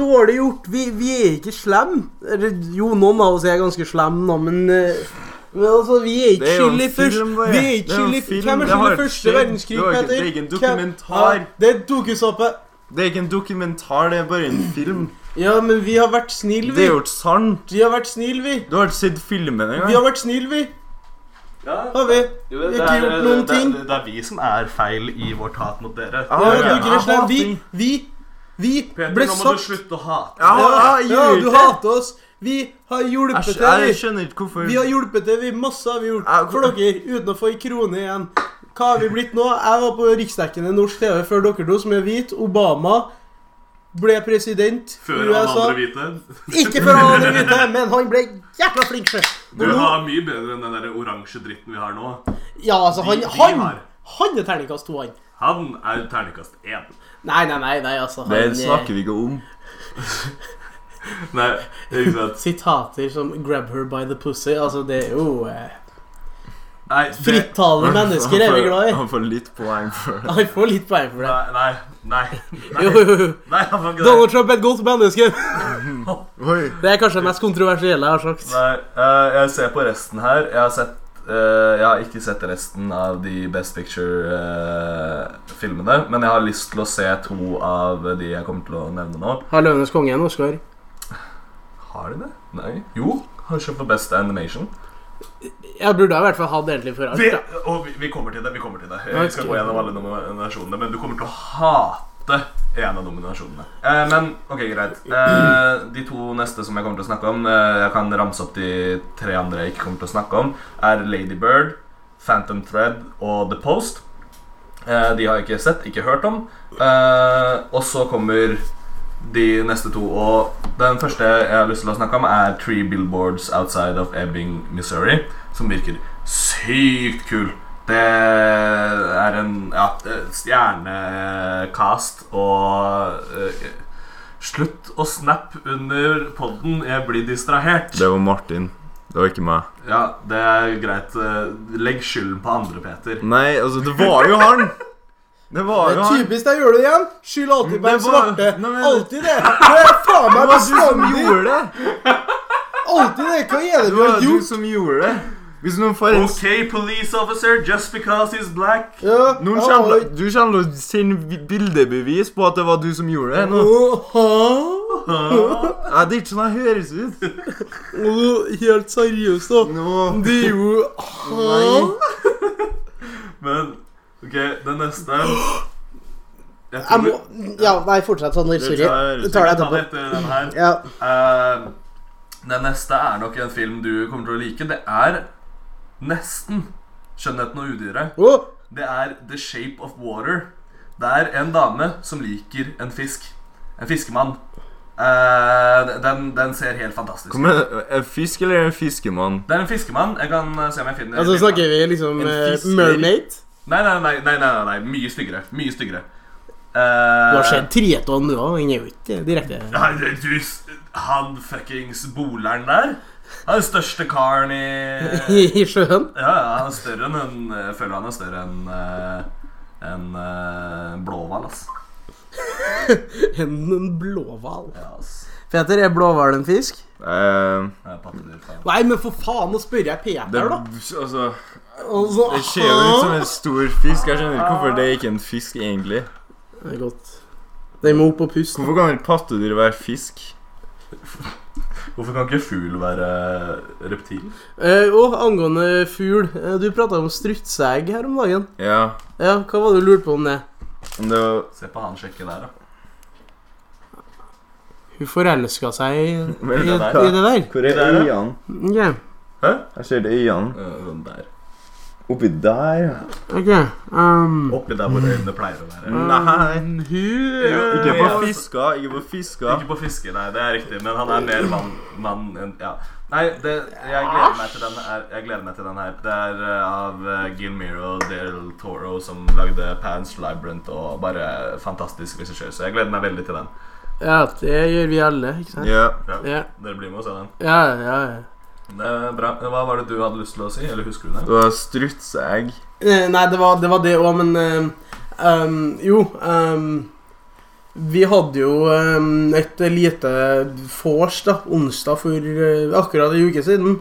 A: Dårlig gjort. Vi, vi er ikke slemme. Eller, Jo, noen av oss er ganske slemme, nå, men eh, men altså, vi er ikke
C: Det er jo en
A: skyld i først
C: film, bare.
A: Vi er ikke
C: Det er jo en
A: skyld i
C: film.
A: Hvem er
C: Det har
A: skyld i første
C: skjedd.
A: verdenskrig,
C: Det var ikke-
A: Peter?
C: det er ikke en
A: Hvem-
C: dokumentar.
A: Ja, det er en dokusoppe.
C: Det er ikke en dokumentar, det er bare en film.
A: Ja, men vi har vært snille,
C: Det
A: vi.
C: er jo ikke sant.
A: Vi har vært snille, vi.
C: Du har ikke sett filmen
A: Vi har
C: engang.
A: vært snille, vi.
B: Ja,
A: Har vi?
B: jo,
A: Vi har ikke gjort noen
B: det,
A: ting.
B: det, det er vi som er feil i vårt hat mot dere.
C: Ja,
A: Ja,
C: ja,
A: dere er
C: jeg
A: slemme. Vi,
C: hater-
A: vi, vi
B: Peter,
A: ble
B: nå må
A: satt
B: du slutte å hate.
C: Ah, Ja,
A: Ja,
C: jeg
A: ja,
C: gjør
A: du
C: ikke det.
A: hater oss. Vi har hjulpet
C: Jeg,
A: til.
C: jeg
A: vi.
C: skjønner ikke hvorfor
A: Vi har hjulpet til, vi. Masse har vi gjort
C: Ja,
A: for dere uten å få ei krone igjen. Hva har vi blitt nå? Jeg var på riksdekkende norsk TV før dere to, som er hvit. Obama ble president i
B: Før alle andre hvite.
A: Ikke før han andre hvite, men han ble jækla flink sjøl.
B: Du har mye bedre enn den der oransje dritten vi har nå.
A: Ja, altså, han,
B: de
A: han,
B: har.
A: han er terningkast to, han.
B: Han er terningkast én.
A: Nei, nei, nei, nei altså.
C: Det
A: Han, eh,
C: snakker vi ikke om.
B: Nei, ikke sant.
A: Sitater som 'grab her by the pussy'. Altså, det er jo eh,
B: Nei, det,
A: Frittalende mennesker er vi glad i.
C: Han får litt poeng for det.
A: Han får litt poeng for det.
B: nei, nei, nei,
A: Jo,
B: nei,
A: jo, jo.
B: nei han får ikke det.
A: Donald Trump er et godt menneske.
C: Oi.
A: Det er kanskje det mest kontroversielle jeg har sagt.
B: Nei, eh, jeg ser på resten her. Jeg har sett eh, Jeg har ikke sett resten av de Best Picture-filmene. men jeg har lyst til å se to av de jeg kommer til å nevne nå.
A: Har 'Løvenes konge' en Oscar?
B: Har de det? Nei. Jo. Kanskje for Best Animation.
A: Jeg burde ha i hvert fall hatt egentlig for alt.
B: Vi,
A: da.
B: og vi, vi kommer til det. vi kommer til det
A: Ok.
B: Jeg skal gå gjennom alle nominasjonene, men du kommer til å hate en av nominasjonene. Eh, men ok, greit. Eh, de to neste som jeg kommer til å snakke om, eh, jeg kan ramse opp de tre andre jeg ikke kommer til å snakke om, er Lady Bird, Phantom Thread og The Post. Eh, de har jeg ikke sett, ikke hørt om. Eh, og så kommer de neste to, og den første jeg har lyst til å snakke om, er Three Billboards Outside of Ebbing, Missouri, som virker sykt kul. Det er en ja, stjernekast og eh, Slutt å snappe under podden, jeg blir distrahert.
C: Det var Martin. Det var ikke meg.
B: Ja, det er greit. eh, Legg skylden på andre, Peter.
C: Nei, altså, det var jo han! Det var
A: Det
C: jo
A: er
C: han.
A: typisk deg å gjøre det igjen. Skyld alltid på
C: Det
A: en
C: var-
A: svarte.
C: Nei, men-
A: Alltid det. Det er faen
C: Det
A: meg
C: var du som
A: bestandig.
C: gjorde det!
A: Alltid det. Hva er det
C: Det
A: du har
C: var du
A: gjort?
C: som gjorde det. Hvis noen får en
B: Ok, police officer, just because he's black.
A: Ja,
C: noen
A: ja,
C: kommer,
A: og-
C: Du kommer til å sende bi- bildebevis på at det var du som gjorde det. Nå.
A: Åha.
C: Nei, det er ikke sånn jeg høres ut.
A: Å, Helt seriøst, da.
C: Nå.
A: Det er jo Hæ?
B: Men OK, den neste Jeg
A: Jeg
B: tror vi-
A: må Ja, nei, fortsett, Sander.
C: Det
A: Sorry.
C: tar-
A: Du tar
B: vi
A: det
B: tar det
A: etterpå.
B: etter den her.
A: Ja.
B: Eh, den neste er nok en film du kommer til å like. Det er nesten 'Skjønnheten og udyret'.
A: Å,
B: Det er The Shape of Water. Det er en dame som liker en fisk. En fiskemann. Eh, den, den ser helt fantastisk
C: Kom
B: ut.
C: med, en fisk eller en fiskemann?
B: Det er en fiskemann. Jeg kan eh, se om jeg finner
A: altså snakker vi liksom
C: En
A: eh,
C: fisker.
A: mermaid?
B: nei, nei, nei, nei, nei, nei. Mye styggere. Mye styggere. Eh,
A: Du har sett Triton, du òg? Den er jo ikke direkte
B: Nei, det- du, s- Han fuckings boleren der. Han er den største karen i
A: i sjøen?
B: Ja, ja, han er større enn en Jeg føler han er større enn eh, enn eh, blåhval, ass.
A: En en blåhval.
B: Ja, ass.
A: Peter, er blåhval en fisk?
C: Eh,
B: Jeg er pattedyr, faen.
A: Nei, men for faen, nå spør jeg
C: det,
A: Peter, da.
C: altså,
A: Altså,
C: det ser jo ut som en stor fisk. Jeg skjønner ikke hvorfor det er ikke en fisk, egentlig.
A: Det er godt. Den må opp og puste.
C: Hvorfor kan ikke pattedyr være fisk?
B: Hvorfor kan ikke fugl være reptil?
A: Eh, og angående fugl, eh, du prata om strutseegg her om dagen.
C: Ja,
A: Ja, Hva var det du lurte på om det?
C: men det var
B: Se på han sjekke der, da.
A: Hun forelska seg i, i,
C: Men
A: i det
C: det der-
A: der.
C: Hvor
B: Det der, ja.
C: øynene?
A: Ok,
C: Jeg ser det i øynene.
B: Sånn der.
C: Oppi der, ja.
A: ok um,
B: Oppi der hvor øynene pleier å være.
C: Nei.
A: um,
B: Jo,
A: Hun
C: Ikke på
B: Ja.
C: fisker, ikke på fisker.
B: Ikke på fiske, nei, det er riktig, men han er mer mann mann enn Ja. Nei, det, jeg gleder meg til den her. Jeg gleder meg til den her. Det er eh, av eh, Gil Miro Del Toro som lagde Pants Librant og bare fantastisk regissør, så jeg gleder meg veldig til den.
A: Ja, det gjør vi alle, ikke sant?
C: Ja.
A: Ja,
B: Dere blir med og ser den.
A: ja, ja. ja.
B: Det er bra. Hva var det du hadde lyst til å si, eller husker du
C: Det
B: det?
C: var strutseegg.
A: Eh, Nei, det var det, var det også, men eh, ehm, Jo. ehm, vi hadde jo ehm, et lite vors da, onsdag for eh, akkurat en uke siden.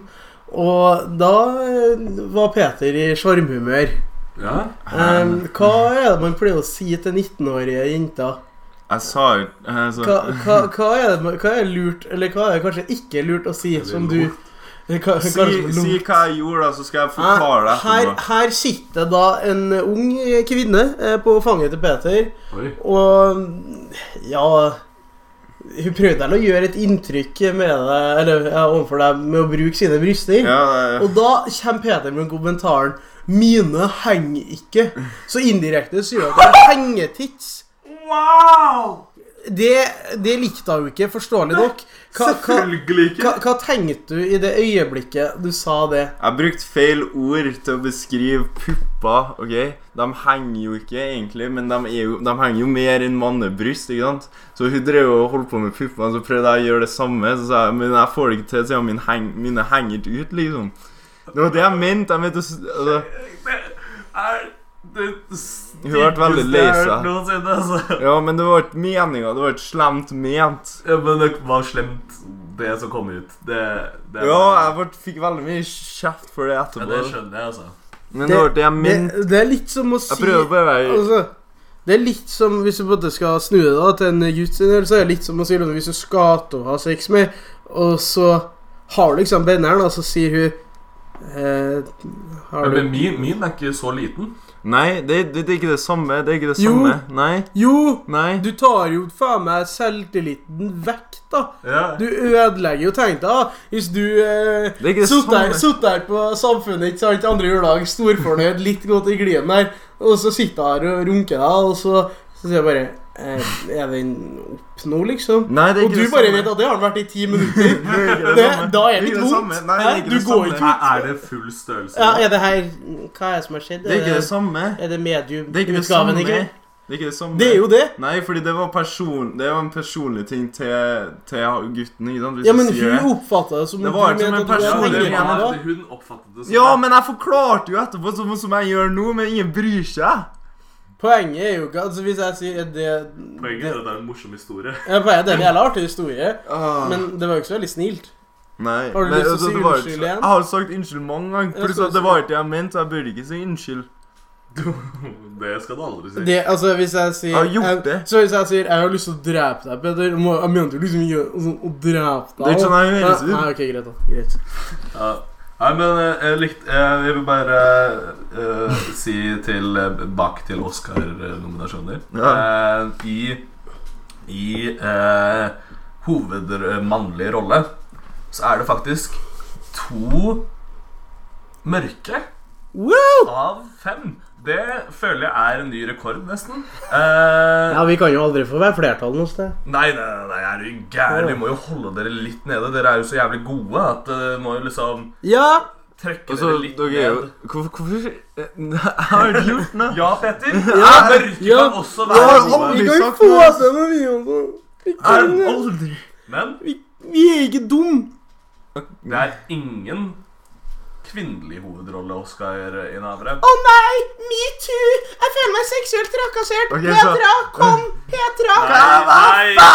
A: Og da eh, var Peter i sjarmhumør.
B: Ja.
A: Ehm, hva er det man pleier å si til 19-årige jenter?
C: Jeg sa jo altså,
A: Hva, hva, hva, er det, man- hva er lurt, eller hva er det kanskje ikke lurt å si, som du hva,
C: si,
A: kanskje-
C: si hva jeg gjorde, da, så skal jeg forklare deg
A: Ah, her,
C: etterpå.
A: her sitter da en ung kvinne eh, på fanget til Peter,
B: Oi.
A: og ja Hun prøvde vel å gjøre et inntrykk med deg, eller ja, overfor deg med å bruke sine bryster.
C: Ja,
A: Og da kommer Peter med kommentaren 'Mine henger ikke'. Så indirekte sier du at det er hengetits.
B: Wow!
A: det, det likte hun ikke, forståelig nok. Hva, hva,
B: Selvfølgelig
A: hva,
B: ikke.
A: hva tenkte du i det øyeblikket du sa det?
C: Jeg brukte feil ord til å beskrive pupper. ok? De henger jo ikke egentlig, men de, er jo, de henger jo mer enn mannebryst. ikke sant? Så hun drev og holdt på med puppene, så prøvde jeg å gjøre det samme. Så sa jeg men jeg får det ikke til siden mine, heng, mine henger ikke ut, liksom. Det var det jeg mente. jeg mente å s- altså,
B: Det er
C: Hun
B: det
C: ble veldig lei
B: styggeste jeg har hørt
C: seg.
B: noensinne, altså.
C: Ja, men det var ikke meninga. Det var ikke slemt ment.
B: Ja, men det var slemt, det som kom ut. Det, det
C: Ja, jeg ble, fikk veldig mye kjeft for det
B: ja, det
C: etterpå.
B: skjønner jeg, altså.
C: Men det var det jeg
A: Det,
C: mente.
A: det er litt som å si
C: Jeg prøver bare å være
A: altså, Det er litt som Hvis du både skal snu det da til en guttsendelse, så er det litt som å si liksom, hvis du skal til å ha sex med, og så har du liksom benneren, og så sier hun eh, har
B: Men
A: du
B: min, min er ikke så liten.
C: Nei, det, det, det er ikke det samme. Det er ikke det
A: Jo.
C: samme. Nei.
A: Jo!
C: Nei.
A: Du tar jo faen meg selvtilliten vekk, da.
B: Ja.
A: Du ødelegger jo tenk deg, da. Hvis du eh,
C: Det er ikke det
A: Satt der,
C: samme.
A: satt der på Samfunnet ikke sant, andre juledag, storfornøyd, litt godt i glien der, og så sitter jeg her og runker deg, og så, så sier jeg bare eh, Er den opp nå, liksom?
C: Nei, det er
A: Og
C: ikke
A: du
C: det
A: bare
C: samme.
A: vet at det har den vært i ti minutter.
C: Det er ikke
A: Det,
C: det samme.
A: da er det
C: ikke
A: litt
C: det
A: vondt.
C: samme. Nei, det er
A: Hæ?
C: ikke
A: Du
C: det
A: går
C: samme.
A: ikke
B: Er, er det full størrelse?
A: Ja, er det her Hva er det som har skjedd?
C: Det er ikke det samme.
A: er det
C: Det er ikke det
A: medium-utgaven
C: samme.
A: i kveld?
C: Det er ikke det samme.
A: Det er jo det.
C: Nei, fordi det var, person, det var en personlig ting til, til gutten. ikke sant? Hvis
A: Ja,
C: du
A: men
C: sier det.
A: hun oppfatta det som
C: Det var
A: du
C: ikke som
A: mente
C: en
A: at du
B: Ja,
A: var
C: personlig
B: det
C: det
A: lenger
C: mener
A: enn
B: var,
A: da.
B: hun oppfattet det som
C: Ja, men jeg forklarte jo etterpå, som, som jeg gjør nå, men ingen bryr seg.
A: Poenget er jo ikke altså Hvis jeg sier er det
B: Poenget er at det er en morsom historie.
A: Ja, Poenget er at det er en jævla artig historie,
C: Ah.
A: men det var jo ikke så veldig snilt.
C: Nei.
A: Har du lyst til
C: men,
A: å
C: altså,
A: si
C: det var ikke-
A: unnskyld igjen?
C: Jeg har sagt unnskyld mange ganger.
A: Ja,
C: Pluss
A: skal
C: at
A: du
C: det var ikke det jeg mente, så jeg burde ikke si unnskyld.
B: Det skal du aldri si.
A: Det, altså, hvis jeg sier
C: Jeg har gjort
A: jeg-
C: det.
A: Så hvis jeg sier 'Jeg har lyst til å drepe deg, Peder', må, jeg mente jo liksom ikke sånn, å drepe deg.
C: Det er ikke sånn jeg høres
A: Nei,
C: ut.
A: Nei, ok, greit da. Greit.
B: Ja. Nei, men eh, jeg likte eh, Jeg vil bare eh, si til eh, bak til Oscar-nominasjoner
C: Ja.
B: Eh, I, i eh, hovedmannlig rolle så er det faktisk to mørke
A: Woo!
B: av fem. Det føler jeg er en ny rekord, nesten. Eh,
A: Ja, Vi kan jo aldri få være flertall noe sted.
B: Nei, nei, nei, nei, er du gæren? Vi må jo holde dere litt nede. Dere er jo så jævlig gode at dere må jo liksom
A: Ja!
B: trekke
C: Og så,
B: dere litt
C: Altså, dere er jo
B: ned.
C: Hvorfor, hvorfor Jeg har ikke gjort noe.
B: Ja, Petter. er mørke
A: ja.
B: kan også
C: Jeg
B: være
C: har
B: gode.
C: aldri
A: Vi kan jo
C: sagt
A: få
C: noe.
A: det med vi også. Vi,
C: Jeg har
A: kan, det.
C: aldri
B: Men
A: vi, vi er ikke dumme.
B: det er ingen kvinnelig hovedrolle Oscar-innehavere.
A: Å nei! Metoo! Jeg føler meg seksuelt trakassert.
C: Ok, så- Petra,
A: kom! Petra!
B: Nei,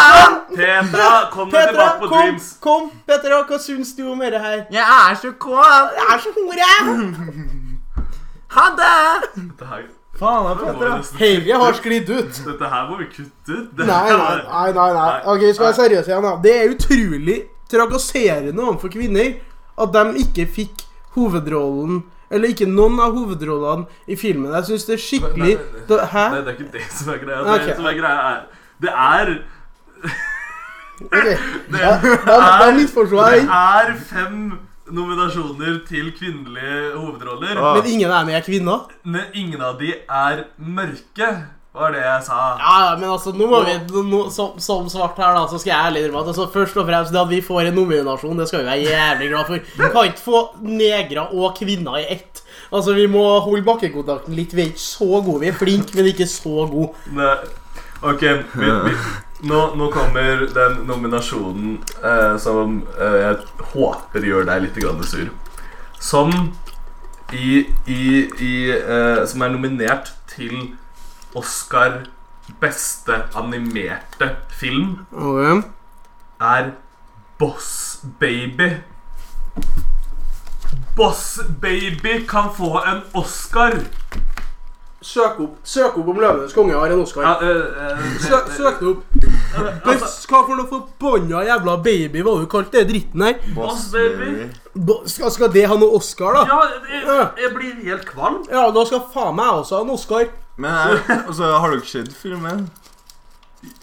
B: Petra, kom deg
A: Petra,
B: tilbake på
A: kom!
B: Dreams.
A: kom. Petra, hva syns du om dette her?
C: Jeg er så kåt!
A: Jeg er så hore!
C: Ha det!
B: Dette her,
C: Faen, da,
B: må vi nesten-
A: Helge har sklidd ut.
B: dette her må vi kutte ut. Det
A: Nei,
B: her
A: nei,
B: er-
A: nei, nei, nei. Ok, skal jeg være seriøs igjen da Det er utrolig trakasserende overfor kvinner At de ikke fikk hovedrollen Eller ikke noen av hovedrollene i filmen Jeg synes det er skikkelig
B: Men- men-
A: da- Hæ?
B: Nei, det er ikke det som er greia.
A: Ok.
B: Det som er greia er Det er
A: Ok. Ja, da, da misforstår
B: Det
A: jeg
B: er fem nominasjoner til kvinnelige hovedroller.
C: Ah.
A: Men ingen er med kvinner
B: Men ingen av de er mørke, var det jeg sa.
A: Ja, ja, men altså, nå må vi nå- nå- som, som svart her da, så skal jeg ærlig innrømme at altså, Først og fremst det at vi får en nominasjon Det skal vi være jævlig glad for Vi kan ikke få negre og kvinner i ett Altså, vi må holde bakkekontakten litt Vi er ikke så gode, vi er flinke, men ikke så gode
B: Nei. Ok, vi, vi, nå, nå kommer den nominasjonen eh, som eh, jeg håper gjør deg litt grann sur. Som i, i, i eh, Som er nominert til Oscar beste animerte film,
A: Ok.
B: er Boss Baby. Boss Baby kan få en Oscar!
A: Søk opp, søk opp om Løvenes konge har en Oscar.
B: Ja, eh, eh,
A: Søk, søk det opp. Men hva for noe forbanna jævla baby var du kalt det dritten her?
B: Boss Baby.
A: Bo- Skal, skal det ha noe Oscar, da?
B: Ja, jeg, jeg blir helt kvalm.
A: Ja, da skal faen meg jeg også ha en Oscar.
C: Men jeg, altså, har dere sett filmen?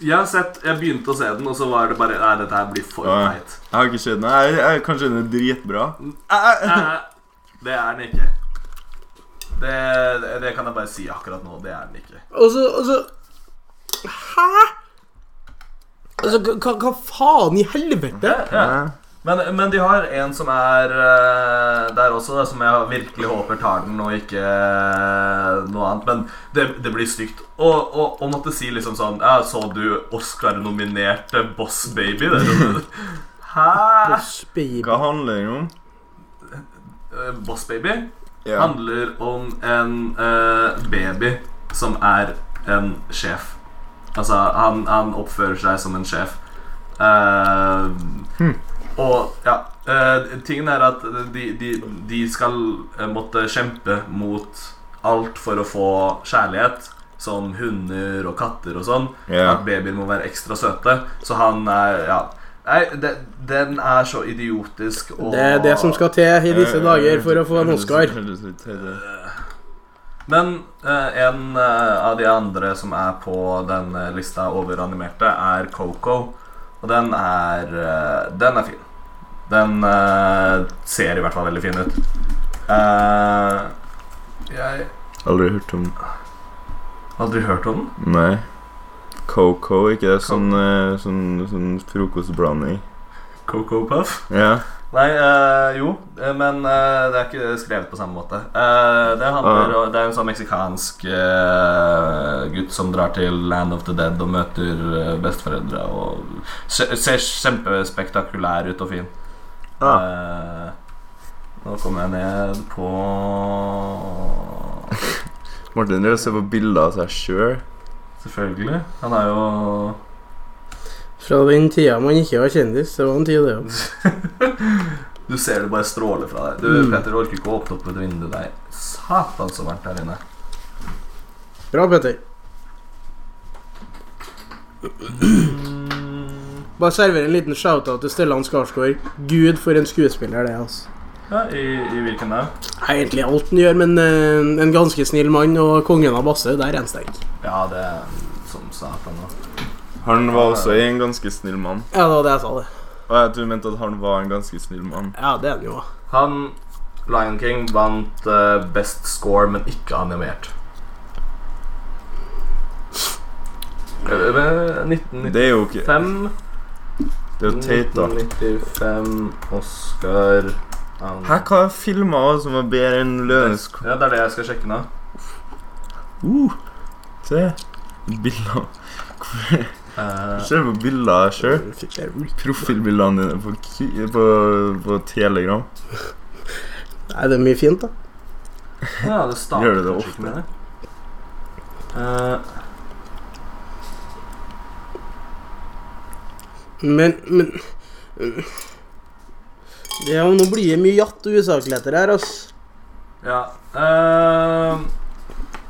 B: Jeg har sett, jeg begynte å se den, og så var det bare Nei, dette her blir for
C: Ja.
B: teit.
C: Jeg har ikke sett den. Jeg, jeg, kanskje den er dritbra.
B: Eh, Det er den ikke. Det, det, det kan jeg bare si akkurat nå. Det er den ikke.
A: Og så, og så Hæ? Altså, hva- hva, hva faen i helvete?
C: Ja.
B: Men, men de har en som er eh, der også, da, som jeg virkelig håper tar den, og ikke eh, noe annet. Men det, det blir stygt. Og, og, og måtte si liksom sånn Ja, så du Oscar-nominerte Boss Baby? Det, er sånn, Hæ?
A: Boss baby.
C: Hva handler det om?
B: Eh, Boss Baby
C: Ja.
B: handler om en eh, baby som er en sjef. Altså, han, han oppfører seg som en sjef. Eh,
C: Hmm.
B: Og ja eh, Tingen er at de, de, de skal eh, måtte kjempe mot alt for å få kjærlighet. Som hunder og katter og sånn.
C: Ja.
B: At babyer må være ekstra søte. Så han er Ja. Nei, det, den er så idiotisk og
A: Det er det som skal til i disse dager for å få en Oscar.
C: Høres Eh, litt høyere.
B: Men eh, en eh, av de andre som er på den eh, lista over animerte, er Coco. Og den er eh, Den er fin. Den eh, ser i hvert fall veldig fin ut. Eh, jeg
C: Aldri hørt om
B: har aldri hørt om den.
C: Nei. Coco, ikke det? Sånn, eh, sånn, sånn frokostblanding.
B: Coco Puff.
C: Ja.
B: Nei, eh, jo, eh, men eh, det er ikke skrevet på samme måte. Eh, det, handler, om- det er en sånn meksikansk eh, gutt som drar til Land of the Dead og møter eh, besteforeldre. Og se- ser kjempespektakulær ut og fin.
C: Ah.
B: Eh, nå kommer jeg ned på
C: Martin driver og ser på bilder av seg sjøl.
B: Selvfølgelig. Han er jo
A: Fra den tida man ikke var kjendis. Det var en tid, det òg.
B: Du ser det bare stråler fra deg. Du,
A: Mm.
B: Petter, orker ikke å åpne opp et vindu der. Satan, så varmt her inne.
A: Bra, Petter. Bare server en liten shout-out til Stellan Skarsgård. Gud, for en skuespiller det er. altså.
B: Ja, i, I hvilken da?
A: Det er egentlig alt han gjør, men eh, en ganske snill mann og kongen av Basse, der er han sterk.
B: Ja, det er som satan. da.
C: Han var også en ganske snill mann.
A: Ja, det var det jeg sa, det.
C: Og jeg tror du mente at han var en ganske snill mann.
A: Ja, det er han jo.
B: Han, Lion King, vant eh, best score, men ikke animert. Eh, eh, 1995
C: Det er jo ikke Det er jo teit, da.
B: 1995 Oscar um,
C: Hæ, hva er filmer også som var bedre enn Løvenes ko-
B: Ja, det er det jeg skal sjekke nå.
C: uh, Se. Bilder
B: Eh,
C: Se på bilder av deg sjøl.
A: Nei,
C: Profilbildene dine på, Ki- på, på Telegram.
A: det er mye fint, da.
B: ja, det starter
C: Gjør du det
B: kanskje ikke med det? Eh,
A: Men, men ja, Nå blir det mye jatt og usakligheter her, ass.
B: ja. eh,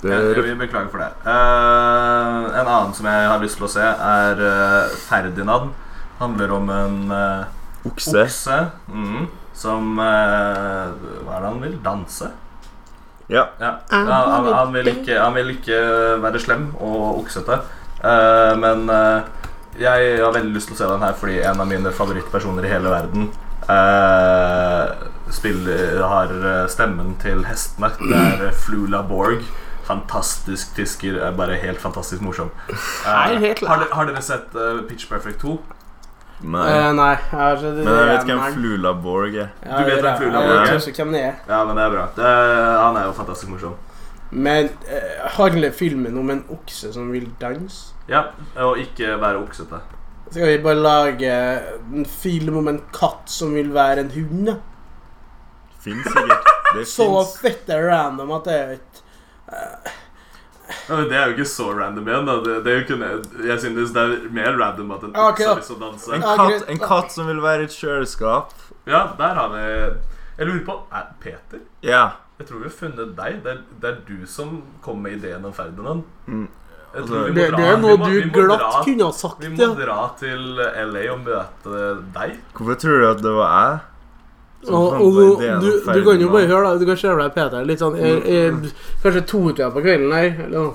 C: Det
B: Jeg, jeg
C: er
B: vil beklage for det. Eh, en annen som jeg har lyst til å se, er eh, Ferdinand. Handler om en eh,
C: okse.
B: okse mm, som eh, Hva er det han vil? Danse?
C: Ja.
B: Ja.
A: Ah,
B: Han, han, han, vil ikke, han vil ikke eh, være slem og oksete. Eh, men eh, jeg har veldig lyst til å se den her fordi en av mine favorittpersoner i hele verden eh, spiller, har eh, stemmen til hestene. Det er eh, Flula Borg. Fantastisk tysker. Er bare helt fantastisk morsom. Eh,
A: Nei, helt klart.
B: har, dere- har dere sett eh, Pitch Perfect 2?
C: Nei.
A: Eh, nei, jeg har ikke det.
C: Men jeg vet hvem Flula Borg er.
A: Ja,
B: Du vet hvem Flula
A: Jeg
C: Borg
A: vet
C: er?
A: også hvem det er.
B: Ja, men det er bra. Det, han er jo fantastisk morsom.
A: Men eh, handler filmen om en okse som vil danse?
B: Ja, Og ikke være oksete.
A: Skal vi bare lage en film om en katt som vil være en hund? da?
C: Fins sikkert. Det
A: Så
C: fins.
A: fette random at det er jo ikke
B: Ja, men Det er jo ikke så random igjen. da det, det er jo ikke, Jeg synes det er mer random at en
A: Ja, ok,
B: okse
A: da.
B: har lyst til å danse.
C: En katt, en katt som vil være et kjøleskap.
B: Ja, der har vi Jeg lurer på er Peter?
C: Ja.
B: Jeg tror vi har funnet deg. Det er, det er du som kom med ideen om Ferdinand.
C: Mm.
B: Jeg tror vi må
A: Det,
B: dra-
A: det er
B: vi
A: noe
B: må- vi
A: du
B: må
A: glatt
B: dra-
A: kunne ha sagt,
B: Vi
A: ja.
B: må dra til LA og møte deg.
C: Hvorfor tror du at det var jeg? som
A: Og,
C: fant
A: og du,
C: på ideen om
A: du, du kan jo
C: Ferdinand?
A: bare høre, da. Du kan se for deg Peter litt sånn eh,
C: Mm.
A: eh, Kanskje to-tida på kvelden her, eller noe. Og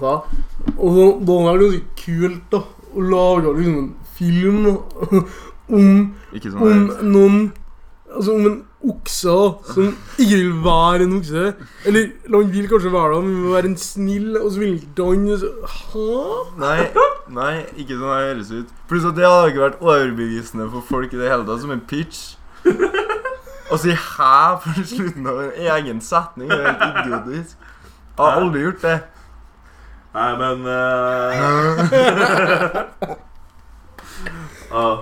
A: så, da var det ganske kult da å lage liksom en film om,
C: Ikke sånn
A: om
C: der.
A: noen Altså om en okser som ikke vil være en okse. Eller eller han vil kanskje være det, men vil være en snill, og så vil ikke han og så- Hæ?
C: Nei, nei, ikke sånn det høres ut. Pluss at det hadde ikke vært overbevisende for folk i det hele tatt, som en pitch. Å si hæ på slutten av en egen setning det er helt idiotisk. Jeg har aldri gjort det.
B: Nei, men eh, ah.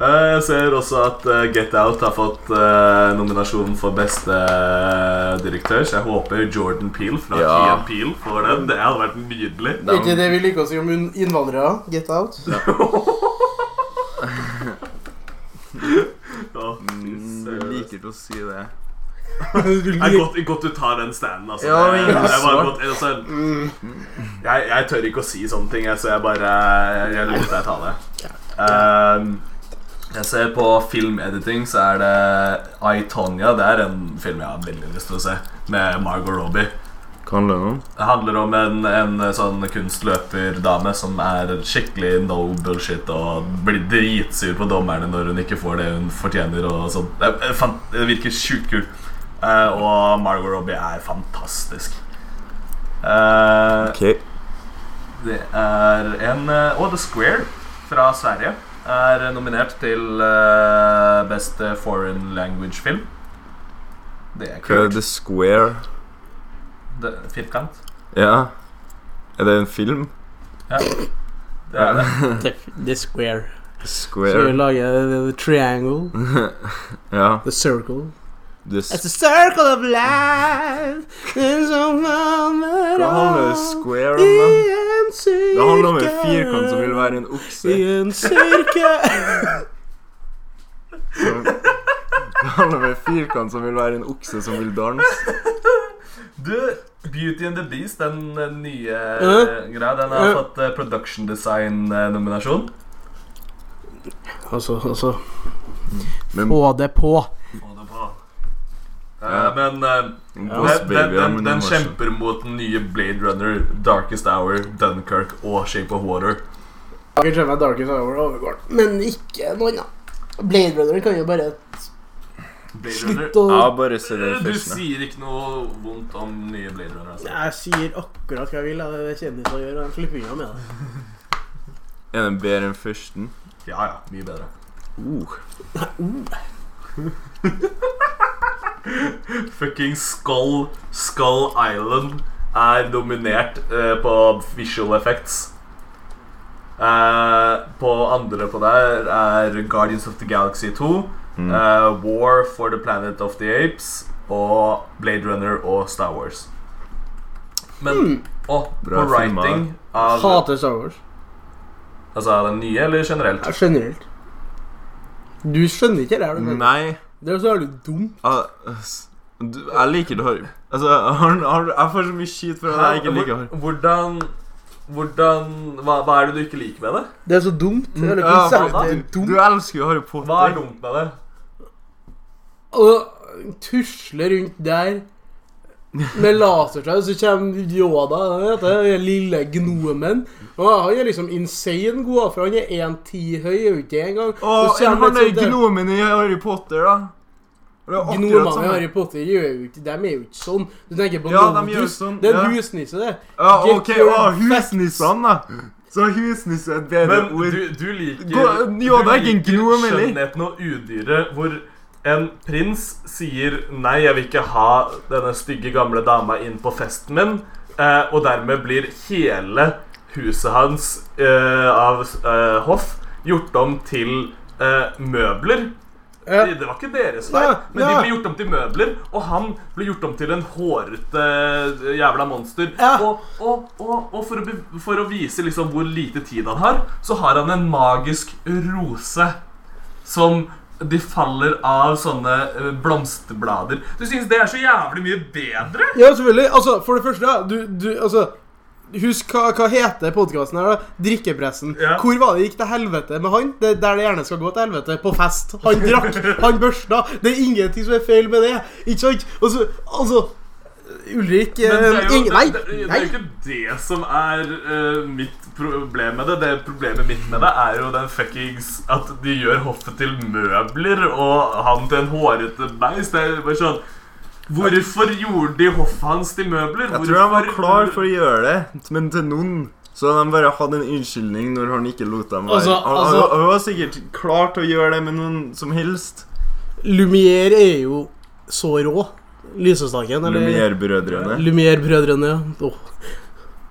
B: Eh, Jeg ser også at eh, Get Out har fått eh, nominasjon for beste eh, direktør, så jeg håper Jordan Peel fra ja.
C: Ja.
B: Peel får den. Det hadde vært nydelig.
A: Det er ikke det vi liker å si om un- innvandrere. Get out.
B: Ja,
C: Mm,
B: fy
C: jeg
B: søren.
C: liker ikke å si det.
B: Det er godt, godt du tar den standen, altså.
C: Ja, men
B: det, det er bare
C: svart.
B: godt, altså
C: Mm.
B: jeg, jeg tør ikke å si sånne ting, jeg, så jeg bare Jeg lot deg ta det. Ehm, jeg ser på filmediting, så er det I, Tonya. Det er en film jeg har veldig lyst til å se, med Margot Robbie.
C: Kan det noe?
B: Det handler om en, en sånn kunstløperdame som er skikkelig no bullshit og blir dritsur på dommerne når hun ikke får det hun fortjener. og sånt. Det, er- eh, fan- det virker sjukt kult. Eh, og Margot Robbie er fantastisk. Eh,
C: Ok.
B: det er en eh, Og The Square fra Sverige er nominert til eh, beste foreign language-film. Det er
C: Hva er
B: kult.
C: The Square?
B: Det- Firkant.
C: Ja. Er det en film?
B: Det er det.
A: The square. Så vi
C: Square.
A: lager the, the triangle.
C: Ja.
A: The circle.
C: The s-
A: It's a circle of life. There's a moment
C: Hva handler
A: of
C: Square om,
A: i
C: da?
A: en sirkel.
C: Det handler om en firkant som vil være en
A: I
C: okse.
A: en sirkel
C: Som, det handler om en firkant som vil være en okse som vil danse.
B: Du, Beauty and the Beast, den eh, nye
A: Ja.
B: greia, den har
A: Ja.
B: fått eh, production eh, design-nominasjon.
A: Altså, altså
C: Men
A: Få det på.
B: Få det på. Eh,
C: Ja.
B: Men eh,
C: Ghost
B: den, den,
C: Baby er
B: den,
C: min
B: den
C: nummer sju.
B: kjemper mot den nye Blade Runner, Darkest Hour, Dunkerque og Shape of Water.
A: Jeg kan skjønne at Darkest Hour overgår den, men ikke noe annet. Blade Runner kan jo bare
B: Blade Runner
A: slutte å
C: Jeg har bare sett den
B: Eh, Du
C: første.
B: sier ikke noe vondt om nye Blade Runner. Altså.
A: Jeg sier akkurat hva jeg vil. Det er det kjendiser gjør, og de slipper unna med det.
C: Er den bedre enn førsten?
B: Ja, ja, mye bedre.
C: Uh.
B: Fucking Skull, Skull Island er dominert eh, på visual effects. Eh, på andre på der er Guardians of the Galaxy 2,
C: Mm.
B: eh, War for the Planet of the Apes og Blade Runner og Star Wars. Men og på
C: Bra filma.
B: writing av
A: Hater Star Wars.
B: Altså av den nye eller generelt?
A: Ja, generelt. Du skjønner ikke det her, du.
C: Nei.
A: Det er så jævlig dum.
C: Ah, s- du, jeg liker det Harry. Altså, han, han, jeg får så mye skit for at jeg ikke liker Harry.
B: Hvordan Hvordan hva, hva er det du ikke liker med det?
A: Det er så dumt. Det er veldig
C: Mm. Ja,
A: konservativt
C: du,
A: dumt.
C: du elsker jo Harry Potter.
B: Hva er dumt med det?
A: Og tusler rundt der med lasersverd, så kommer Yoda, vet du, den lille gnomen. Og han er liksom insane god, for han er 1,10 høy, er jo ikke det engang.
C: Å,
A: Så liksom kommer
C: han
A: et
C: er
A: sånt der-
C: gnomen i Harry Potter, da. Og det er akkurat
A: Gnomene i
C: samme.
A: Harry Potter gjør jo ikke De er jo ikke sånn. Du tenker på
C: Ja, de gjør
A: Modus.
C: sånn,
A: Det er en
C: ja.
A: husnisse, det.
C: Ja,
A: Get
C: ok,
A: your
C: å,
A: facts.
C: husnissene, da. Så husnisse er et bedre
B: Men
C: ord.
B: du, du liker
C: Gå- jo, det er ikke en gnom, eller?
B: skjønnheten og udyret hvor en prins sier 'nei, jeg vil ikke ha denne stygge gamle dama inn på festen min', eh, og dermed blir hele huset hans eh, av eh, hoff gjort om til eh, møbler.
A: Ja.
B: Det det var ikke deres feil,
A: Ja,
B: men de
A: ja.
B: ble gjort om til møbler. Og han ble gjort om til en hårete eh, jævla monster.
A: Ja.
B: Og, og, og, og for, å, be- for å vise liksom hvor lite tid han har, så har han en magisk rose som de faller av sånne eh, blomsterblader. Du syns det er så jævlig mye bedre?
A: Ja, selvfølgelig. Altså, for det første, da, du, du Altså, husk hva, hva heter podkasten her, da? Drikkepressen.
B: Ja.
A: Hvor var det gikk til helvete med han? Det er der det gjerne skal gå til helvete. På fest. Han drakk, han børsta. Det er ingenting som er feil med det. Ikke sant? Altså, altså Ulrik
B: Men det er
A: eh,
B: jo,
A: Ing-
B: det,
A: Nei!
B: det, det
A: nei.
B: er jo ikke det som er eh, mitt problem med det. Det Problemet mitt med det er jo den fuckings at de gjør hoffet til møbler og han til en hårete beist. Det er jo bare sånn Hvorfor gjorde de hoffet hans til møbler?
C: Jeg tror han var
B: Hvorfor-
C: klar for å gjøre det, men til noen så hadde han bare hatt en unnskyldning når han ikke lot dem være.
A: Altså-
C: han,
A: altså-
C: han, han var sikkert klar til å gjøre det med noen som helst.
A: Lumière er jo så rå. Lysestaken, eller
C: Lumière-brødrene.
A: Lumière-brødrene. ja. Åh.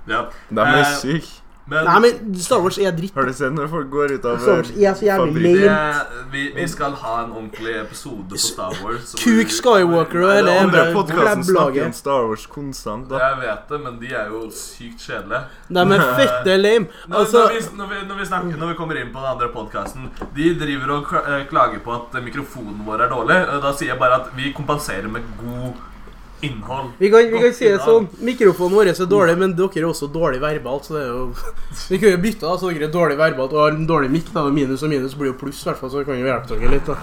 B: ja.
C: De er
B: Eh,
C: syke.
B: Men,
A: Nei, men Star Wars er dritt.
C: Har du sett når folk går ut av
A: Star Wars er så jævlig
C: fabrikken?
A: lame.
B: det, vi, vi skal ha en ordentlig episode på Star Wars. så
A: Kuk
B: vi-
A: Skywalker og hele
C: Den andre
A: Bare
C: podkasten
A: blabblaget.
C: snakker om Star Wars konstant. da
B: Jeg vet det, men de er jo sykt kjedelige.
A: De er fette lame.
B: Når,
A: Altså,
B: når, vi, når, vi, når, vi snakker, når vi kommer inn på den andre podkasten De driver og kla- eh, klager på at eh, mikrofonen vår er dårlig. Eh, Da sier jeg bare at vi kompenserer med god innhold.
A: vi kan, vi kan
B: Godt
A: si det
B: innhold.
A: sånn. Mikrofonen vår er så dårlig, men dere er også dårlig verbalt, så det er jo Vi kunne jo bytta, da, så dere er dårlig verbalt og har en dårlig mikk. Da og minus og minus blir jo pluss, i hvert fall, så kan vi hjelpe dere litt. da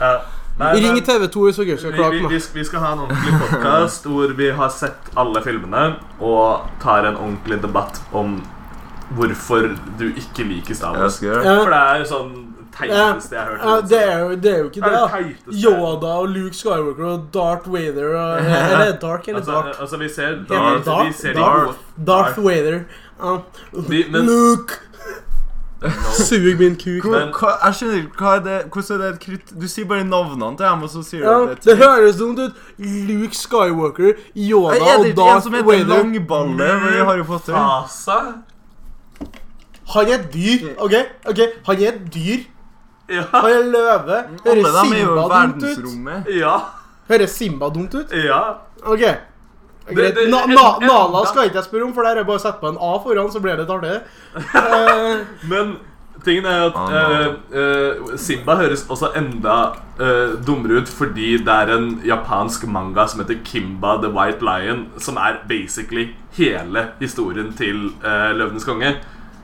B: Ja. Nei,
A: Ring
B: men-
A: TV 2 hvis dere skal
B: vi,
A: klage.
B: vi,
A: da.
B: vi, sk- vi skal ha en ordentlig podkast hvor vi har sett alle filmene og tar en ordentlig debatt om hvorfor du ikke liker Star
C: Jeg
B: Wars.
C: skal gjøre det.
A: Ja,
B: For det er jo sånn teiteste jeg har hørt.
A: ja, det, er jo, det er jo ikke
B: Det er
A: det.
B: det
A: da
B: teiteste.
A: Yoda og Luke Skywalker og Darth Vader og Eller er det Dark eller
B: Altså,
A: Dark?
B: altså, vi ser
A: Darth-
B: Darth- vi ser de
A: Darth-
B: gode-
A: Darth Vader. Ja.
B: De- men-
A: Luke! Sug min kuk.
C: Hvor-
B: Men-
C: hva- Jeg skjønner ikke hva er det Hvordan er det et kritt Du sier bare navnene til dem, og så sier du
A: Ja,
C: at det
A: det
C: er et kritt.
A: høres dumt ut. Luke Skywalker, Yoda
C: Er
A: og
C: det ikke en
A: Darth
C: som heter
A: Vader.
C: Langballe i Harry Potter?
B: Asa?
A: Han er et dyr, OK? ok, Han er et dyr.
B: Ja.
A: Han er løve.
C: Alle
A: Høres
C: dem er jo i
A: Simba dumt ut?
C: verdensrommet.
B: Ja.
A: Høres Simba dumt ut?
B: ja.
A: OK.
B: Det-
A: Greit.
B: det-
A: Na,
B: en-
A: na,
B: en-
A: Nala
B: da-
A: skal ikke jeg spørre om, for der er det bare å sette på en A foran, så blir det litt artigere. Eh,
B: Men tingen er at
C: Ah.
B: eh, eh, Simba høres også enda eh, dummere ut fordi det er en japansk manga som heter Kimba the White Lion, som er basically hele historien til eh, Løvenes konge.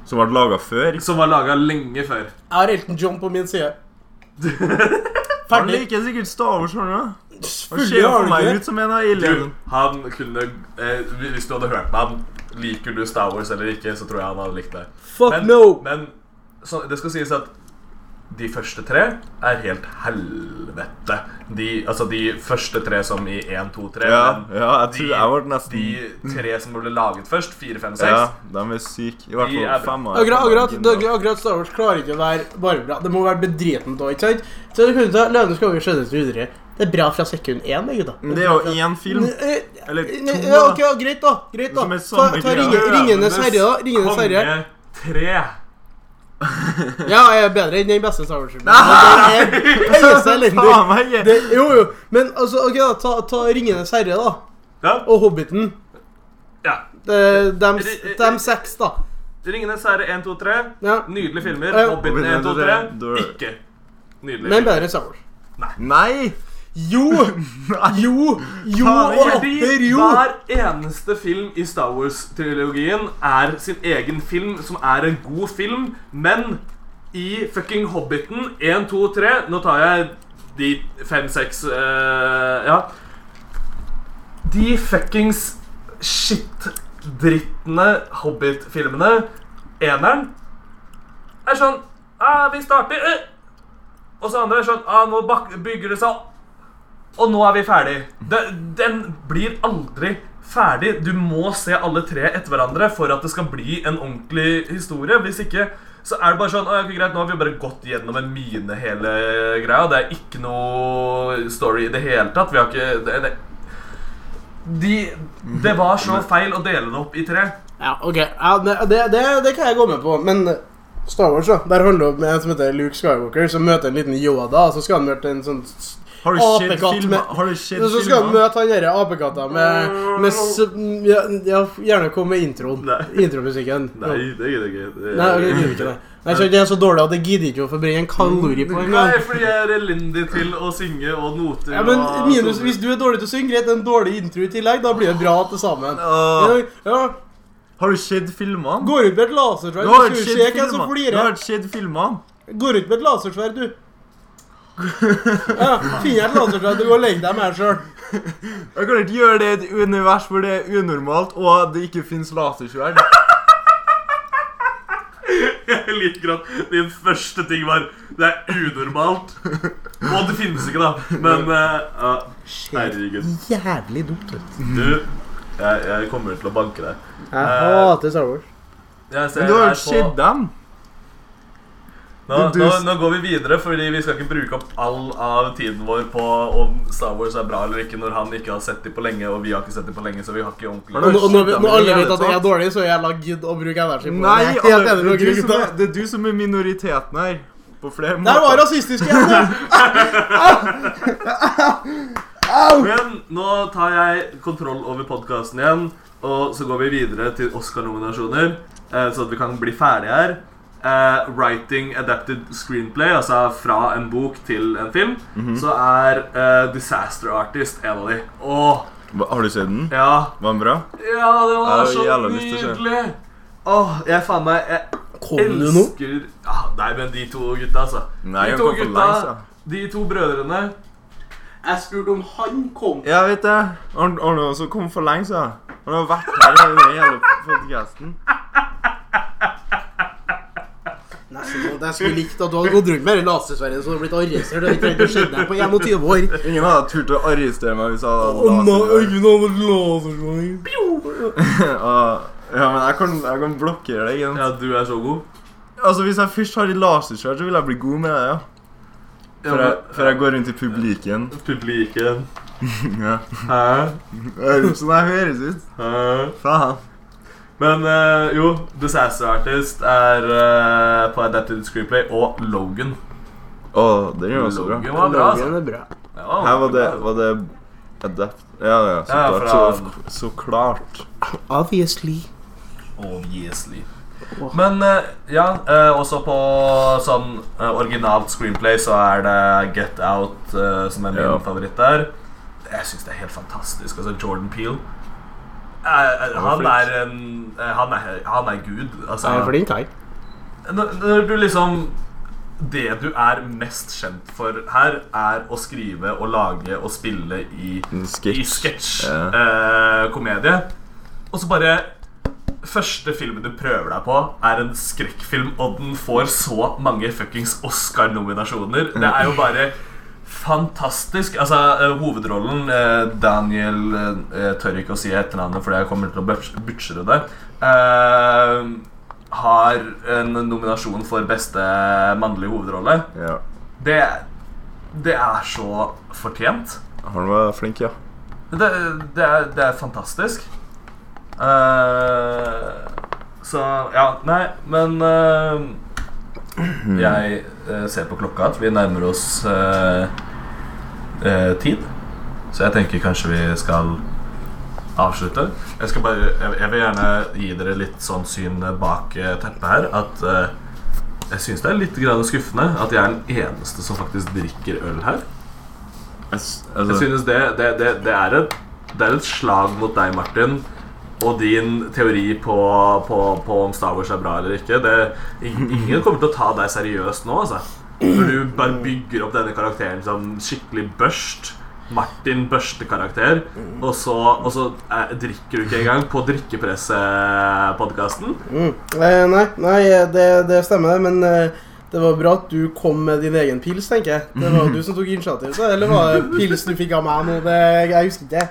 C: Som ble laga før.
B: Som var laga lenge før.
A: jeg har Elton John på min side.
C: Han
A: Ferdig.
C: liker sikkert Star Wars. skjønner du? Han ser
A: Fulle
C: jo for meg
A: alger.
C: ut som en av eleven.
B: Du, han kunne eh, Hvis du hadde hørt med ham Liker du Star Wars eller ikke, så tror jeg han hadde likt det.
A: Fuck
B: Men,
A: no!
B: men så, det skal sies at de første tre er helt helvete. De, altså de første tre som i 1, 2, 3.
C: Ja,
B: men
C: ja, jeg tror jeg ble
B: de
C: nesten
B: tre som ble laget først, 4, 5, 6
C: Ja, de er syke. I hvert
B: De
C: fall
B: er bra.
C: fem av
A: Akkurat, akkurat, det- akkurat Star Wars klarer ikke å være bare bra. Det må være bedritent òg, ikke sant? Så du kunne ta Løvenes konge skjønner du videre. Det er bra fra sekund én, det, gutta.
C: Men det er jo én film. Eller
A: Eller
C: to,
A: Eh, Ja,
C: da.
A: ok, ja, greit, da. Greit, da.
C: Som er
A: Ta,
C: samme
A: ta
C: greia.
A: ringe, Ringenes herre, da. Ringenes herre.
B: Konge 3.
A: Ja, jeg er bedre enn den beste Star Wars-filmen. Men den er- den er så elendig.
C: Faen meg!
A: Det, jo, jo. Men altså, ok, da. Ta, ta Ringenes herre, da.
B: Ja.
A: Og Hobbiten.
B: ja.
A: De, seks, da.
B: Ringenes herre 1, 2, 3.
A: Ja.
B: Nydelige filmer.
A: Ja.
B: Hobbiten 1, 2, 3.
C: Dør.
B: Ikke nydelige
A: Men
B: filmer.
A: bedre enn Star Wars.
C: Nei!
A: Jo! Jo! Jo!
C: Faen,
A: Og
B: Fordi
A: atter jo!
B: hver eneste film i Star Wars-trilogien er sin egen film, som er en god film, men i fucking Hobbiten 1, 2, 3 Nå tar jeg de fem, seks eh, Ja. De fuckings shit-drittene Hobbit-filmene, eneren, er sånn ah, Vi starter eh. Og så andre er sånn ah, Nå bak bygger det seg opp. Og nå er vi ferdig. Den, den blir aldri ferdig. Du må se alle tre etter hverandre for at det skal bli en ordentlig historie. Hvis ikke så er det bare sånn «Å, ja, ok, greit, Nå har vi bare gått gjennom en mine hele greia. Det er ikke noe story i det hele tatt. Vi har ikke Det, det, de, det var så feil å dele det opp i tre.
A: Ja, ok. Ja, det, det, det, det kan jeg gå med på, men eh, Star Wars, da. Der handler det om en som heter Luke Skywalker, som møter en liten Yoda, og så skal han møte en sånn s-
C: Har du sett
A: Apekatt
C: filmer?
A: med-
C: Har du sett
A: Så skal han
C: filmer?
A: møte han derre apekatta med, med s- ja, ja, Gjerne kom med introen.
B: Nei.
A: Intromusikken.
B: det gidder jeg ikke.
A: Nei, ok, jeg gidder ikke det. Nei, så Det er så dårlig at jeg gidder ikke å forbrenne en kalori på en gang.
B: Nei, fordi jeg er elendig til å synge og noter
A: Ja, men
B: og
A: minus, Hvis du er dårlig til å synge, greit, en dårlig intro i tillegg, da blir det bra til sammen.
C: Åh,
A: Ja, ja,
C: Har du sett filmene?
A: Går ut med et
C: Du
A: lasersverd, så
C: har
A: skal vi
C: sett
A: se hvem som
C: filmene! Du
A: flirer.
C: har sett filmene!
A: Går ut med et lasersverd, du. Ja, finner jeg et laserslag til å gå og legge deg med deg sjøl.
C: Jeg kan ikke gjøre det i et univers hvor det er unormalt, og det ikke fins lasersverd.
B: Jeg liker at din første ting var Det er unormalt. Og det finnes ikke, da. Men eh, ja, herregud.
A: Jævlig dumt, vet du.
B: Du, jeg, jeg kommer til å banke deg.
A: Jeg hater Star Wars.
B: Jeg ser-
C: Men du har
B: jeg
C: jo
B: er på-
C: sett dem.
B: Nå,
C: Du- du-
B: nå, nå går vi videre, fordi vi skal ikke bruke opp all av tiden vår på om Star Wars er bra eller ikke, når han ikke har sett dem på lenge, og vi har ikke sett dem på lenge, så vi har ikke
C: Har
B: ordentlig
A: Og
C: du-
A: når, og når, når alle
C: Jævlig
A: vet at jeg er
C: tatt.
A: dårlig, så er jeg gidd å bruke energi på
C: Nei,
A: det. Jeg er helt enig
C: alle,
A: med
C: det,
A: dere,
C: er du som
A: gutta.
C: er, det er du som er minoriteten her. På flere
A: Der var
C: måter.
A: rasistisk igjen! det.
B: Men nå tar jeg kontroll over podkasten igjen, og så går vi videre til Oscar-nominasjoner, eh, så at vi kan bli ferdig her. Eh, writing adapted screenplay, altså fra en bok til en film,
C: Mhm.
B: så er eh, Disaster Artist en av de. Åh,
C: Hva- Har du sett den?
B: ja.
C: Var den bra?
B: Ja, det var
C: Jeg har
B: så
C: jævla lyst til å se.
B: nydelig! Åh, jeg faen meg Jeg
A: Kom du nå?
B: elsker ja, Nei, men de to gutta, altså.
C: Nei,
B: de
C: jeg
B: to
C: kom på langs, ja.
B: de to brødrene.
A: Jeg spurte om han kom.
C: Ja, vet det. Han han har også kommet for lenge siden. Han har vært her i den hele podcasten.
A: Nesten sånn at jeg skulle likt at du hadde gått rundt med det lasersverdet så du hadde blitt arrestert. og ikke trengt å skynde deg på 21 år.
C: Ingen hadde turt å arrestere meg hvis jeg hadde lasersverd. Og- Ja, men jeg kan, jeg kan blokkere deg. ikke sant?
B: Ja, du er så god.
C: Altså, Hvis jeg først har et lasersverd, så vil jeg bli god med det. ja. Før jeg, før jeg går rundt i publiken.
B: Publiken.
C: Ja.
B: Hæ?
C: Sånn jeg høres ut.
B: Hæ?
C: Faen.
B: Eh, Men eh, jo, Disaster Artist er eh, på Adapted Screenplay og Logan.
C: Å, den er jo også bra.
B: Logan var bra, altså.
A: Logan er bra.
B: Ja, den
C: Her var det,
B: bra.
C: var det adapt... Ja, ja, så
B: Ja,
C: klart.
B: fra-
C: Så, så klart.
A: Obviously.
B: altså. Obviously. Men eh, ja, eh, også på sånn eh, originalt screenplay så er det Get Out eh, som er min
C: Ja.
B: favoritt der. Jeg syns det er helt fantastisk. Altså Jordan Peel. han
C: flink.
B: er en eh, han, er, han er gud. Altså,
A: Han er flink, han.
B: når, når du liksom Det du er mest kjent for her, er å skrive og lage og spille i
C: En
B: i
C: sketsj. Ja.
B: sketsj-komedie. og så bare Første filmen du prøver deg på, er en skrekkfilm, og den får så mange fuckings Oscar-nominasjoner. Det er jo bare fantastisk. Altså, eh, hovedrollen eh, Daniel eh, Jeg tør ikke å si etternavnet fordi jeg kommer til å buts- butchere det. eh, har en nominasjon for beste mannlige hovedrolle.
C: Ja.
B: Det, det er så fortjent.
C: Han var flink, ja.
B: Men Det, det, er, det er fantastisk. Eh, så ja, nei, men eh, Jeg eh, ser på klokka at vi nærmer oss eh, eh, tid. Så jeg tenker kanskje vi skal avslutte. Jeg, skal bare, jeg, jeg vil gjerne gi dere litt sånn syn bak eh, teppet her at eh, jeg syns det er litt grann skuffende at jeg er den eneste som faktisk drikker øl her.
C: Jeg, s-
B: Jeg
A: Mm.
C: altså,
B: synes det, det, det, det, er et, det er et slag mot deg, Martin, og din teori på, på, på om Star Wars er bra eller ikke. Det, ing- ingen kommer til å ta deg seriøst nå, altså. Når du bare bygger opp denne karakteren som skikkelig børst. Martin Børste-karakter. Og så, og så eh, drikker du ikke engang på Drikkepresse-podkasten.
A: Mm. Eh, nei, nei det, det stemmer, men eh, det var bra at du kom med din egen pils, tenker jeg. Det var jo du som tok initiativ til det, eller var det pils du fikk av meg nå? Det, jeg husker ikke.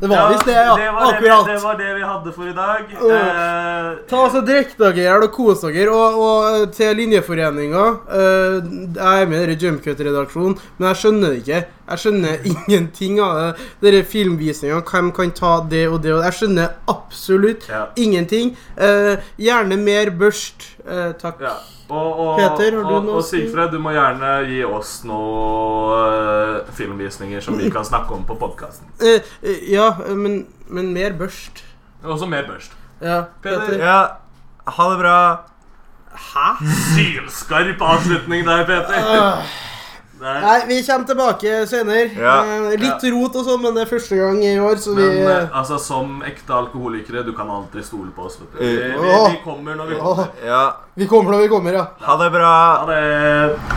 A: Det var visst det, ja.
B: det, var det,
A: Akkurat.
B: det var det vi hadde for i dag.
A: Åh.
B: Eh,
A: Ta altså Drikk dere i hjel og kos dere. Og, og til linjeforeninga eh, Jeg er med i dere Jumpcut-redaksjonen, men jeg skjønner det ikke. Jeg skjønner ingenting av det. Dere filmvisningene, hvem kan ta det og det og det? Jeg skjønner absolutt
B: Ja.
A: ingenting. Eh, gjerne mer børst. Eh, takk.
B: Ja. Og, og,
A: Peter, har du
B: og,
A: noe
B: og
A: å si?
B: Sigfred, du må gjerne gi oss noen filmvisninger som vi kan snakke om på podkasten.
A: Eh, eh, ja, eh, men, men mer børst.
B: Også mer børst.
A: Ja,
B: Peter.
A: Peter.
C: ja. Ha det bra.
A: Hæ? Ah.
B: Sylskarp avslutning der, Peter. Nei.
A: Nei, vi kommer tilbake senere.
C: Ja.
A: Eh, litt rot og sånn, men det er første gang i år, så
B: Men
A: vi
B: eh, altså, som ekte alkoholikere, du kan alltid stole på oss. Vet
A: Eh,
B: du. Vi, vi, vi kommer når vi kommer.
C: Ja.
A: Vi kommer da vi kommer, ja.
C: Ha det bra.
B: Ha det.